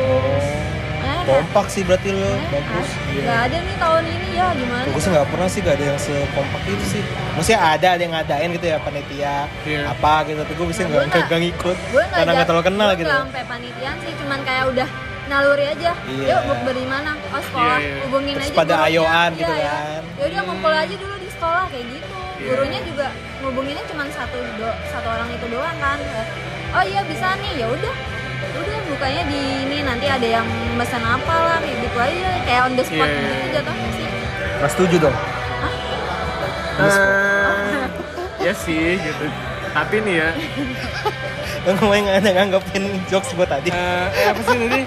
Nah, kayak, kompak sih berarti lo Iya, bagus Gak ada nih tahun ini ya gimana? Gue sih nggak pernah sih gak ada yang sekompak itu sih Maksudnya ada, ada yang ngadain gitu ya panitia Iya. Apa gitu Tapi gue bisa Nah, gua nggak nggak- nggak ngikut gue nggak Karena jat- nggak terlalu kenal gua gitu nggak sampai panitian sih cuman kayak udah naluri aja Iya. yuk bukber di mana oh sekolah Iya, iya. hubungin Terus aja pada gurunya. ayoan Iya, gitu iya. kan. yaudah ngumpul aja dulu di sekolah kayak gitu Iya. gurunya juga ngubunginnya cuman satu do, satu orang itu doang kan Kayak, oh iya bisa nih ya udah udah bukanya di ini nanti ada yang pesan apa lah kayak gitu aja kayak on the spot Iya, iya. gitu jatuhnya sih Mas setuju dong <laughs> Eh, ya sih gitu tapi nih ya Yang ngomongin ada nganggapin jokes gue tadi eh, eh, apa sih tadi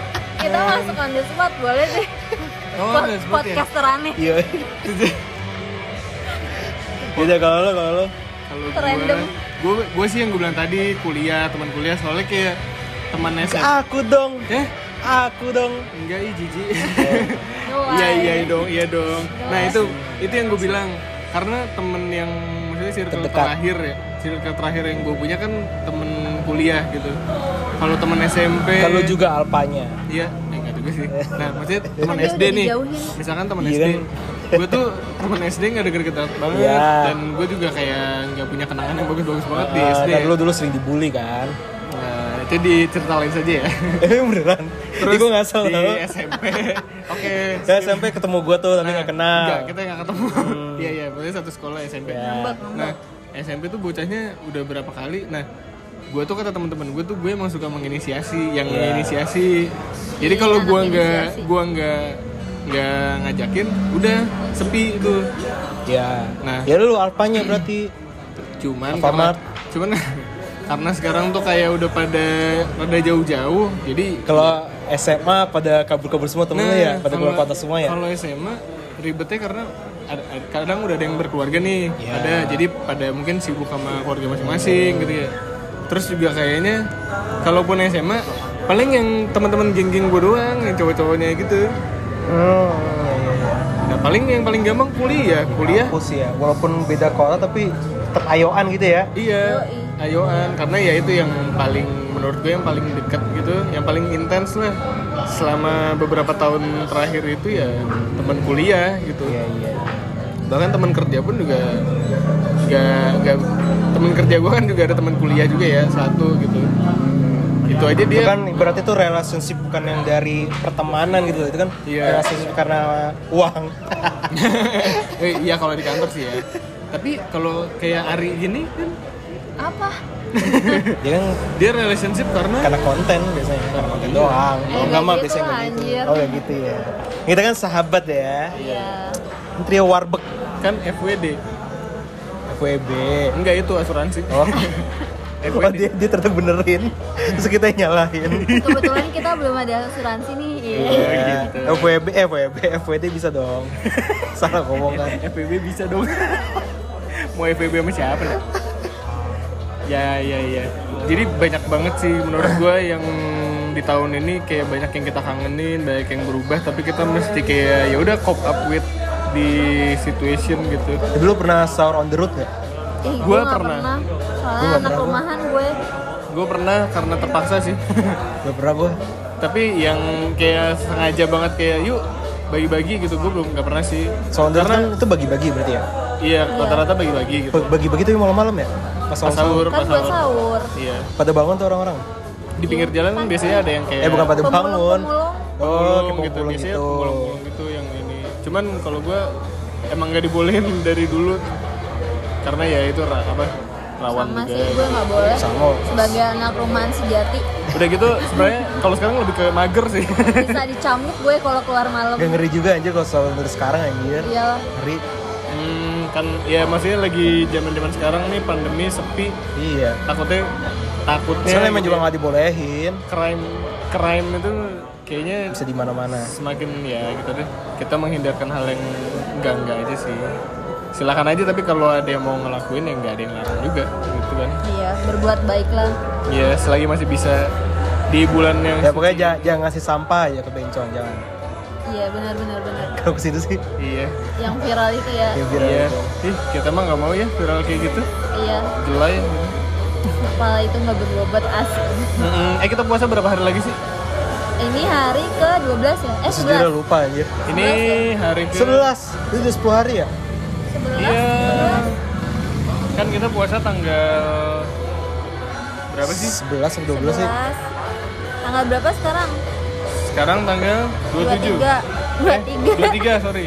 kita masuk on the spot boleh deh oh Pod- ada sebut ya podcaster aneh Iya <laughs> Yaudah kalau lo, kalau lo kalau Random. gue gue sih yang gue bilang tadi kuliah teman kuliah soalnya kayak teman Ke SMA Aku dong eh Aku dong enggak ih jiji <laughs> Doang. iya iya dong iya dong nah itu itu yang gue bilang karena temen yang maksudnya circle Terdekat. terakhir ya circle terakhir yang gue punya kan temen kuliah gitu kalau temen SMP Kalau juga alpanya iya eh, enggak juga <laughs> sih nah maksudnya temen Aduh, SD udah nih dijauhin. misalkan temen Iya SD kan? gue tuh temen SD nggak deket-deket banget Iya. dan gue juga kayak nggak punya kenangan yang bagus-bagus banget di Ah, SD Dan lo dulu sering dibully kan nah itu diceritain saja ya <laughs> Eh beneran Terus gue ngasal di tau SMP oke Ya SMP ketemu gue tuh tapi Nah, nggak kenal Hmm. Iya. Enggak, kita nggak ketemu. Iya iya, berarti satu sekolah SMP. Ngambek, Nah, ngambek. SMP tuh bocahnya udah berapa kali. Nah, gue tuh kata teman-teman gue tuh gue emang suka menginisiasi, yang Iya. menginisiasi. Jadi Iya, kalau anak gue nggak inisiasi. gue nggak nggak ngajakin, udah sepi itu. Ya. Nah. Ya lu alpanya berarti. Cuman Alfamart. karena cuman <laughs> karena sekarang tuh kayak udah pada pada jauh-jauh, jadi Kalau SMA pada kabur-kabur semua temennya ya, pada Nah, kalau- keluar kota semua ya. Kalau SMA ribetnya karena ada, ada- kadang udah ada yang berkeluarga nih, Iya. ada jadi pada mungkin sibuk sama keluarga masing-masing gitu ya. Terus juga kayaknya kalaupun SMA paling yang teman-teman geng-geng gue doang yang cowok-cowoknya gitu. Oh, iya, iya, iya. Nah paling yang paling gampang kuliah, kuliah Kampus ya, walaupun beda kota tapi tetap ayoan gitu ya. iya ayoan karena ya itu yang paling menurut gue yang paling deket gitu, yang paling intens lah selama beberapa tahun terakhir itu ya teman kuliah gitu. Iya, iya. bahkan teman kerja pun juga nggak nggak temen kerja gue kan juga ada teman kuliah juga ya satu gitu itu aja dia Bukan berarti itu kan relationship bukan yang dari pertemanan gitu itu kan Iya. relationship karena uang. <laughs> <laughs> Eh, iya kalau di kantor sih ya tapi kalau kayak Ari gini kan apa Dia kan dia relationship karena karena konten biasanya karena konten doang. Eh, Kalau nggak enggak mah gitu biasanya lah, nggak gitu. anjir. Oh ya gitu ya. Kita kan sahabat ya. iya Trio Warbek kan FWD FWB. enggak itu asuransi Oh. FWD Oh, dia, dia ternyata benerin Terus kita yang nyalahin Ya, kebetulan kita belum ada asuransi nih <laughs> iya Iya. gitu. FWB, FWB, FWD bisa dong Salah ngomong kan FWB bisa dong mau FWB sama siapa lah ya ya ya jadi banyak banget sih menurut gue yang di tahun ini kayak banyak yang kita kangenin banyak yang berubah tapi kita mesti kayak ya udah cope up with di situation gitu Tapi lu pernah sahur on the road gak? Ih, Gua gua nggak pernah. pernah. Gua Soalnya nggak anak pernah. rumahan gue gue pernah karena terpaksa sih <laughs> Gak pernah gue tapi yang kayak sengaja banget kayak yuk bagi-bagi gitu gue belum nggak pernah sih Sahur on the road Karena- kan itu bagi-bagi berarti ya? iya rata-rata bagi-bagi gitu Ba- Bagi-bagi tuh malam-malam ya? Pas pas sahur kan pas buat sahur sahur. iya Pada bangun tuh orang-orang? di pinggir jalan biasanya ada yang kayak Eh bukan pada bangun Pemulung-pemulung. Oh, pemulung Iya. gitu gitu, biasanya gitu. pemulung-pemulung gitu yang ini cuman kalau gue emang nggak dibolehin <laughs> dari dulu karena ya itu ra- apa rawan Sama sih juga ya. gue nggak boleh. Sama. Sebagai anak rumahan sejati udah gitu sebenarnya kalau sekarang lebih ke mager sih <laughs> bisa dicambuk gue kalau keluar <laughs> malam. Gak ngeri juga anjir kalau sahur on the road sekarang anjir Iya. Ngeri hmm, kan ya maksudnya lagi zaman zaman sekarang nih pandemi sepi Iya takutnya takutnya Soalnya emang gitu juga ya, gak dibolehin crime crime itu kayaknya Bisa di mana mana semakin ya gitu deh kita menghindarkan hal yang enggak enggak aja sih silakan aja tapi kalau ada yang mau ngelakuin ya nggak ada yang larang juga gitu kan Iya, berbuat baiklah. ya selagi masih bisa di bulan yang Ya pokoknya jangan, jangan ngasih sampah ya ke bencong Jangan <laughs> Iya, benar benar benar. Kalau kesini sih iya Yang viral itu ya. Ya viral iya itu. ih kita mah nggak mau ya viral kayak gitu Iya, jelai kepala itu nggak berbobot asli. Mm-mm. eh kita puasa berapa hari lagi sih Ini hari ke-12 ya? Eh, Sejujurnya lupa anjir ini hari ke 11 Itu udah 10 hari ya? 11. 11. iya kan kita puasa tanggal berapa sih 11 sampai 12 sih 11. Tanggal berapa sekarang? sekarang tanggal 27 <laughs> 23. 23. 23 Eh, sorry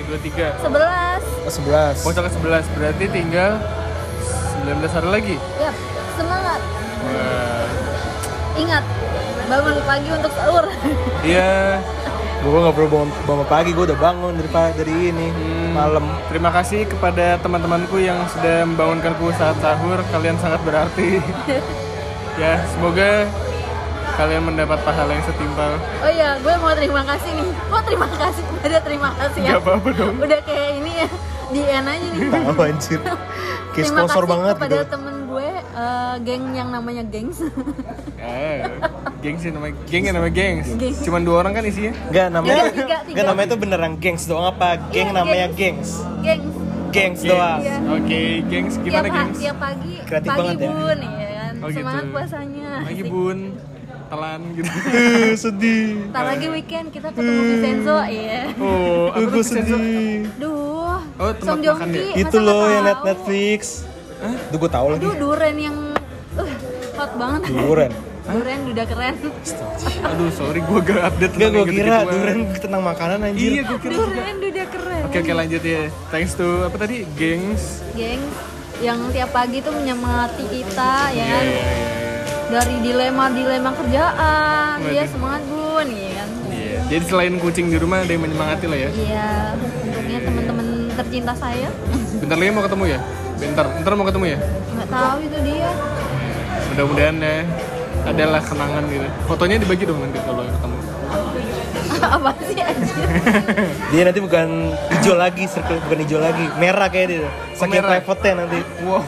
11. 23 Oh, 11 Puasa ke 11 berarti tinggal 19 hari lagi. Yap, semangat. Wah. Ingat, bangun pagi untuk sahur. <laughs> Iya. Gue gak perlu bangun, bangun pagi, gue udah bangun dari, pa- dari ini Hmm. Malam Terima kasih kepada teman-temanku yang sudah membangunkanku saat sahur. Kalian sangat <laughs> berarti. ya, semoga kalian mendapat pahala yang setimpal. Oh iya, gue mau terima kasih nih. Kok terima kasih? <laughs> Gak Ada terima kasih ya. Gak apa-apa dong. Udah kayak ini ya, di end aja nih. Tahu <laughs> anjir Kayak Terima sponsor kasih banget kepada gitu temen gue, eh, geng yang namanya Gengs. <laughs> Eh, geng sih namanya. Geng ya namanya gengs. Geng. Cuman dua orang kan isinya. Gak namanya Tiga, tiga, tiga. Gak namanya tuh beneran gengs doang apa? Iya, Geng namanya gengs. gengs gengs. Gengs Gengs. doang Iya. Oke, gengs gimana tiap, gengs? tiap pagi, Kreatif pagi banget ya. bun, ya. kan? Oh, gitu. Semangat puasanya. Lagi bun, telan gitu. <laughs> Eh, Sedih Ntar Eh. lagi weekend kita ketemu Vincenzo, Hmm. iya. Oh, Eh, apa Gue tuh Vincenzo? sedih Duh, Oh, tempat Song Joong makan Ki, ya? masa Itu loh nggak yang net tahu? Netflix Duh gue tau lagi Aduh, duren yang uh, hot banget. Iya. <laughs> Duren Duren udah keren. Aduh, sorry gue gak update Gak tentang gue yang kira gitu-gituan. Duren tentang makanan Iya, anjir gue kira juga. Duren udah keren. Oke oke lanjut ya. Thanks to apa tadi? Gengs. Geng yang tiap pagi tuh menyemangati kita ya kan. Iya, Dari dilema-dilema kerjaan, Waduh. dia semangat Bun, ya kan. Iya. Jadi selain kucing di rumah ada yang menyemangati lah ya. Iya, untuknya teman-teman tercinta saya. Bentar lagi mau ketemu ya. Bentar, bentar mau ketemu ya. Nggak tahu itu dia. <laughs> Mudah-mudahan ya adalah kenangan gitu. Fotonya dibagi dong nanti kalau ketemu. Apa sih anjir? Dia nanti bukan hijau lagi, circle bukan hijau lagi, merah kayak dia. Oh, Saking merah. private-nya nanti. Wow.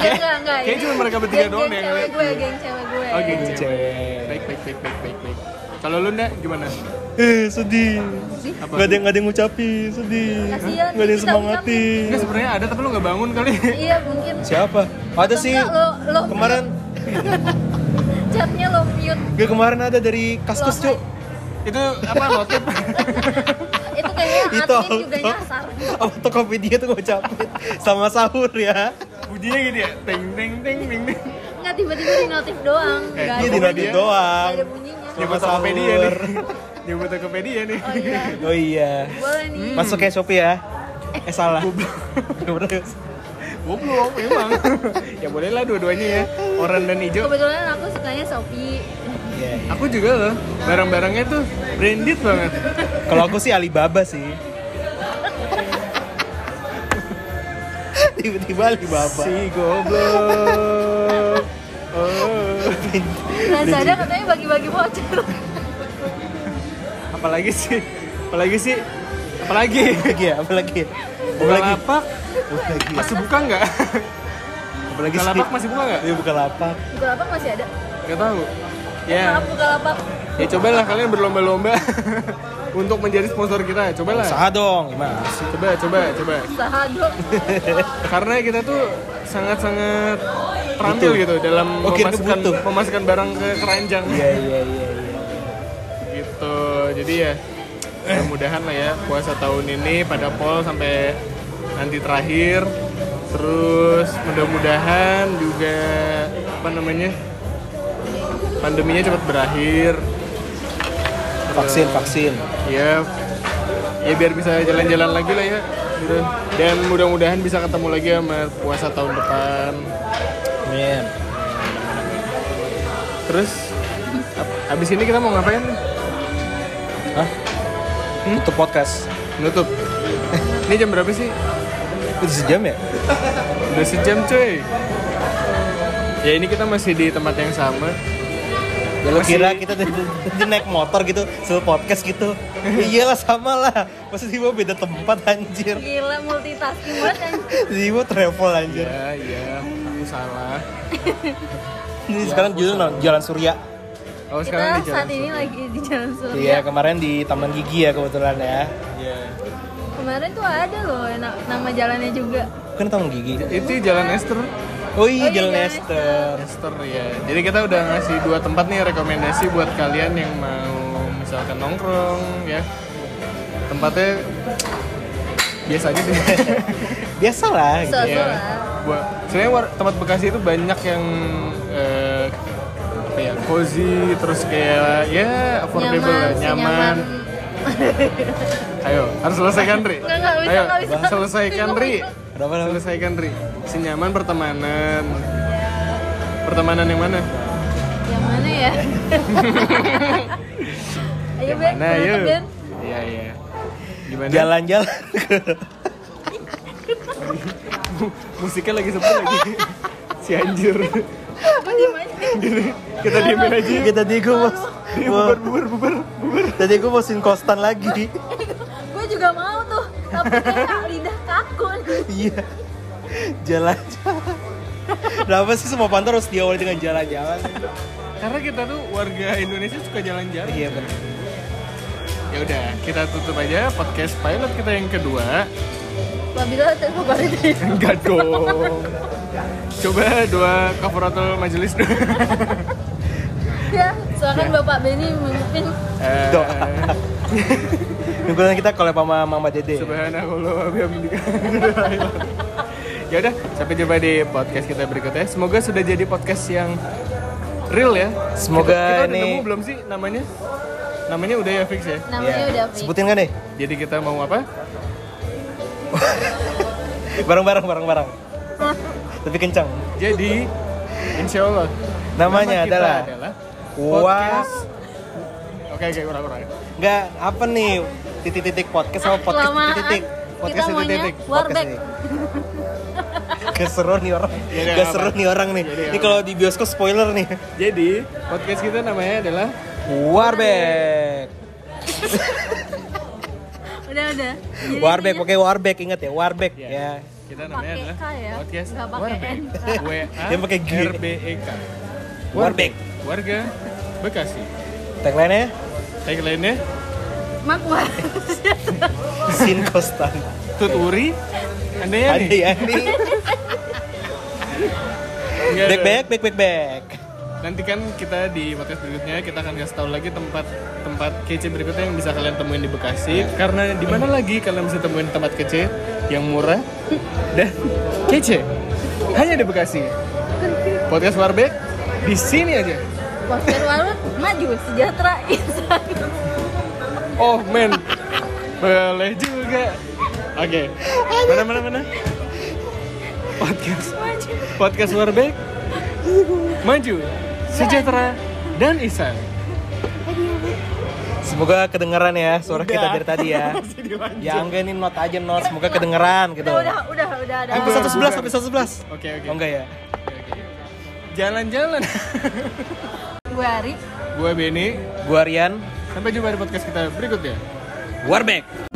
Enggak, enggak, enggak. Kayaknya ini cuma mereka bertiga geng- doang geng yang cewek ngeliat. gue, geng cewek gue. Oke, cewek. Baik, baik, baik, baik, baik, baik. Kalau lu ndak gimana? Eh, sedih. Apa? Gak ada yang gak ada yang ngucapin, sedih. Kasihan, Gak ada yang kita semangati. Enggak sebenarnya ada tapi lu nggak bangun kali. <laughs> Iya, mungkin Siapa? Ada Atau sih. enggak, lo- lo- Kemarin, catnya lo mute. gak kemarin ada dari Kaskus Lo- cuk. Itu apa notif? itu kayak ya, Itu admin juga auto. nyasar. Apa Tokopedia tuh ngucapin sama sahur ya. <laughs> Bunyinya gitu ya, ting ting ting ting ting. Nggak tiba-tiba di notif doang. Eh, Nggak ada, Ini di Tokopedia. notif nggak ada doang. bunyinya. Sama Nyebut Tokopedia nih. <laughs> sahur. Nyebut Tokopedia nih. Oh iya, Oh iya. boleh nih. Masuk ya Shopee ya. Eh salah. Bener-bener. Goblok memang. <laughs> ya boleh lah dua-duanya ya. Oranye dan hijau. Kebetulan aku sukanya Shopee. Iya, iya. Aku juga loh. Barang-barangnya tuh branded banget. Kalau aku sih Alibaba sih. Tiba-tiba Alibaba. Si goblok. Oh. Lazada katanya bagi-bagi voucher. Apalagi sih? Apalagi sih? Apalagi? Apalagi ya, apalagi. Apalagi. Bukalapak Apalagi. masih buka nggak? Apalagi sih. Bukalapak masih buka nggak? Iya bukan lapak. Bukalapak masih ada. Nggak tahu. Ya, Maaf Bukalapak. ya cobalah kalian berlomba-lomba <laughs> untuk menjadi sponsor kita. Cobalah. Usaha dong, gimana? Coba, coba, coba. Usaha dong. Karena kita tuh sangat-sangat terampil Butuh. gitu dalam Oh, kira memasukkan butuh. memasukkan barang ke keranjang Iya iya iya. iya. gitu. Jadi ya mudah-mudahan lah ya puasa tahun ini pada pol sampai nanti terakhir. Terus mudah-mudahan juga apa namanya? pandeminya cepat berakhir. Vaksin vaksin. ya ya biar bisa jalan-jalan lagi lah ya gitu. dan mudah-mudahan bisa ketemu lagi sama puasa tahun depan Amin. terus ab- abis ini kita mau ngapain nih? Hah? Tutup podcast. nutup <laughs> ini jam berapa sih Itu sejam ya? udah sejam cuy ya ini kita masih di tempat yang sama Ya lu Masih- kira kita <laughs> tadi tadi naik motor gitu, sebelum podcast <laughs> gitu. Ya iyalah sama lah. Masa tiba beda tempat anjir. Gila multitasking banget kan. Tiba travel anjir. ya ya aku salah Ini sekarang judul no- Jalan Surya. Kita oh sekarang di jalan saat ini lagi di Jalan Surya. Iya, kemarin di Taman Gigi ya kebetulan ya. ya Kemarin tuh ada loh na- nama jalannya juga. Kan Taman Gigi. itu jalan Esther Oh Oh iya, iya, Jalan Jalan Esther. Esther ya jadi kita udah ngasih dua tempat nih rekomendasi buat kalian yang mau misalkan nongkrong ya tempatnya biasa aja sih <laughs> Biasalah gitu. So- ya buat sebenarnya war- tempat Bekasi itu banyak yang eh, apa ya cozy terus kayak ya affordable lah, nyaman, ayo harus selesaikan Ri Nggak, nggak bisa, ayo nggak bisa. selesaikan Ri Berapa lama? selesaikan Ri senyaman pertemanan pertemanan yang mana Yang mana <laughs> ya? ayo Ben, Nah, penutup, yuk. Ben. Iya, iya. Gimana? Jalan-jalan <laughs> ke Musiknya lagi sepi <laughs> lagi. si anjir. Aku diem aja. Kita diemin aja. Iya, tadi gue mau Bubar, bubar, bubar, bubar. Tadi gue mau sinkostan lagi. Gue juga mau tuh, tapi kayak lidah kaku. nih. Iya. Jalan-jalan. Kenapa sih semua pantau harus diawali dengan jalan-jalan? Karena kita tuh warga Indonesia suka jalan-jalan. Iya benar. Ya udah, kita tutup aja podcast pilot kita yang kedua. <laughs> Wabila tengok balik. Enggak dong. Coba dua kafaratul majelis <laughs> dulu. Ya, soalnya Bapak Benny memimpin Eh, Doa. Kebetulan kita collab sama Mama Dede. Subhanallah wa bihamdika. <laughs> Ya udah, sampai jumpa di podcast kita berikutnya. Semoga sudah jadi podcast yang real ya. Semoga kita, kita udah ini- nemu belum sih namanya? Namanya udah ya fix ya. namanya Iya. udah fix. Sebutin kan nih? Jadi kita mau apa? Bareng-bareng bareng-bareng. Tapi kencang. Jadi insya Allah nama Namanya kita adalah, podcast. Wah. Oke oke kurang kurang. Enggak, apa nih? Titik-titik podcast Ah, sama podcast kelamaan. titik-titik. Podcast Kita maunya titik-titik. warteg. <laughs> Gak seru nih orang. Ya udah, Gak apa? seru nih orang nih. Ya udah, Ini apa? kalau di bioskop spoiler nih. Jadi podcast kita namanya adalah Warbeck. Udah, udah. Jadi Warbeck, pakai Warbeck ingat ya, Warbeck Iya. ya. kita namanya Pakai adalah K ya? podcast Nggak pakai N. W A E <laughs> Dia pakai G. R B E K. Warbeck. Warga Bekasi. Tagline-nya Tagline-nya Makmur. Sin Kostan. Tuturi Anda ya Ada ya nih. Back back back back back. nanti kan kita di podcast berikutnya kita akan kasih tahu lagi tempat tempat kece berikutnya yang bisa kalian temuin di Bekasi. Iya. Karena di mana lagi kalian bisa temuin tempat kece yang murah dan kece? Hanya di Bekasi. Kan- Podcast Warbek di sini aja. Poster warung maju sejahtera Gitu. insan. Oh men, boleh juga. Oke, mana mana mana. Podcast Maju. Podcast Warbeck Maju Sejahtera Dan Isan Semoga kedengeran ya suara kita Udah. dari tadi <laughs> ya. ya enggak ini not aja not, semoga kedengeran gitu. Udah, udah, udah, udah, udah. Sampai 111, sampai 111. Oke oke Oh enggak ya? Jalan-jalan Gue Ari. Gue Benny Gua Rian, Sampai jumpa di podcast kita berikutnya Warbeck.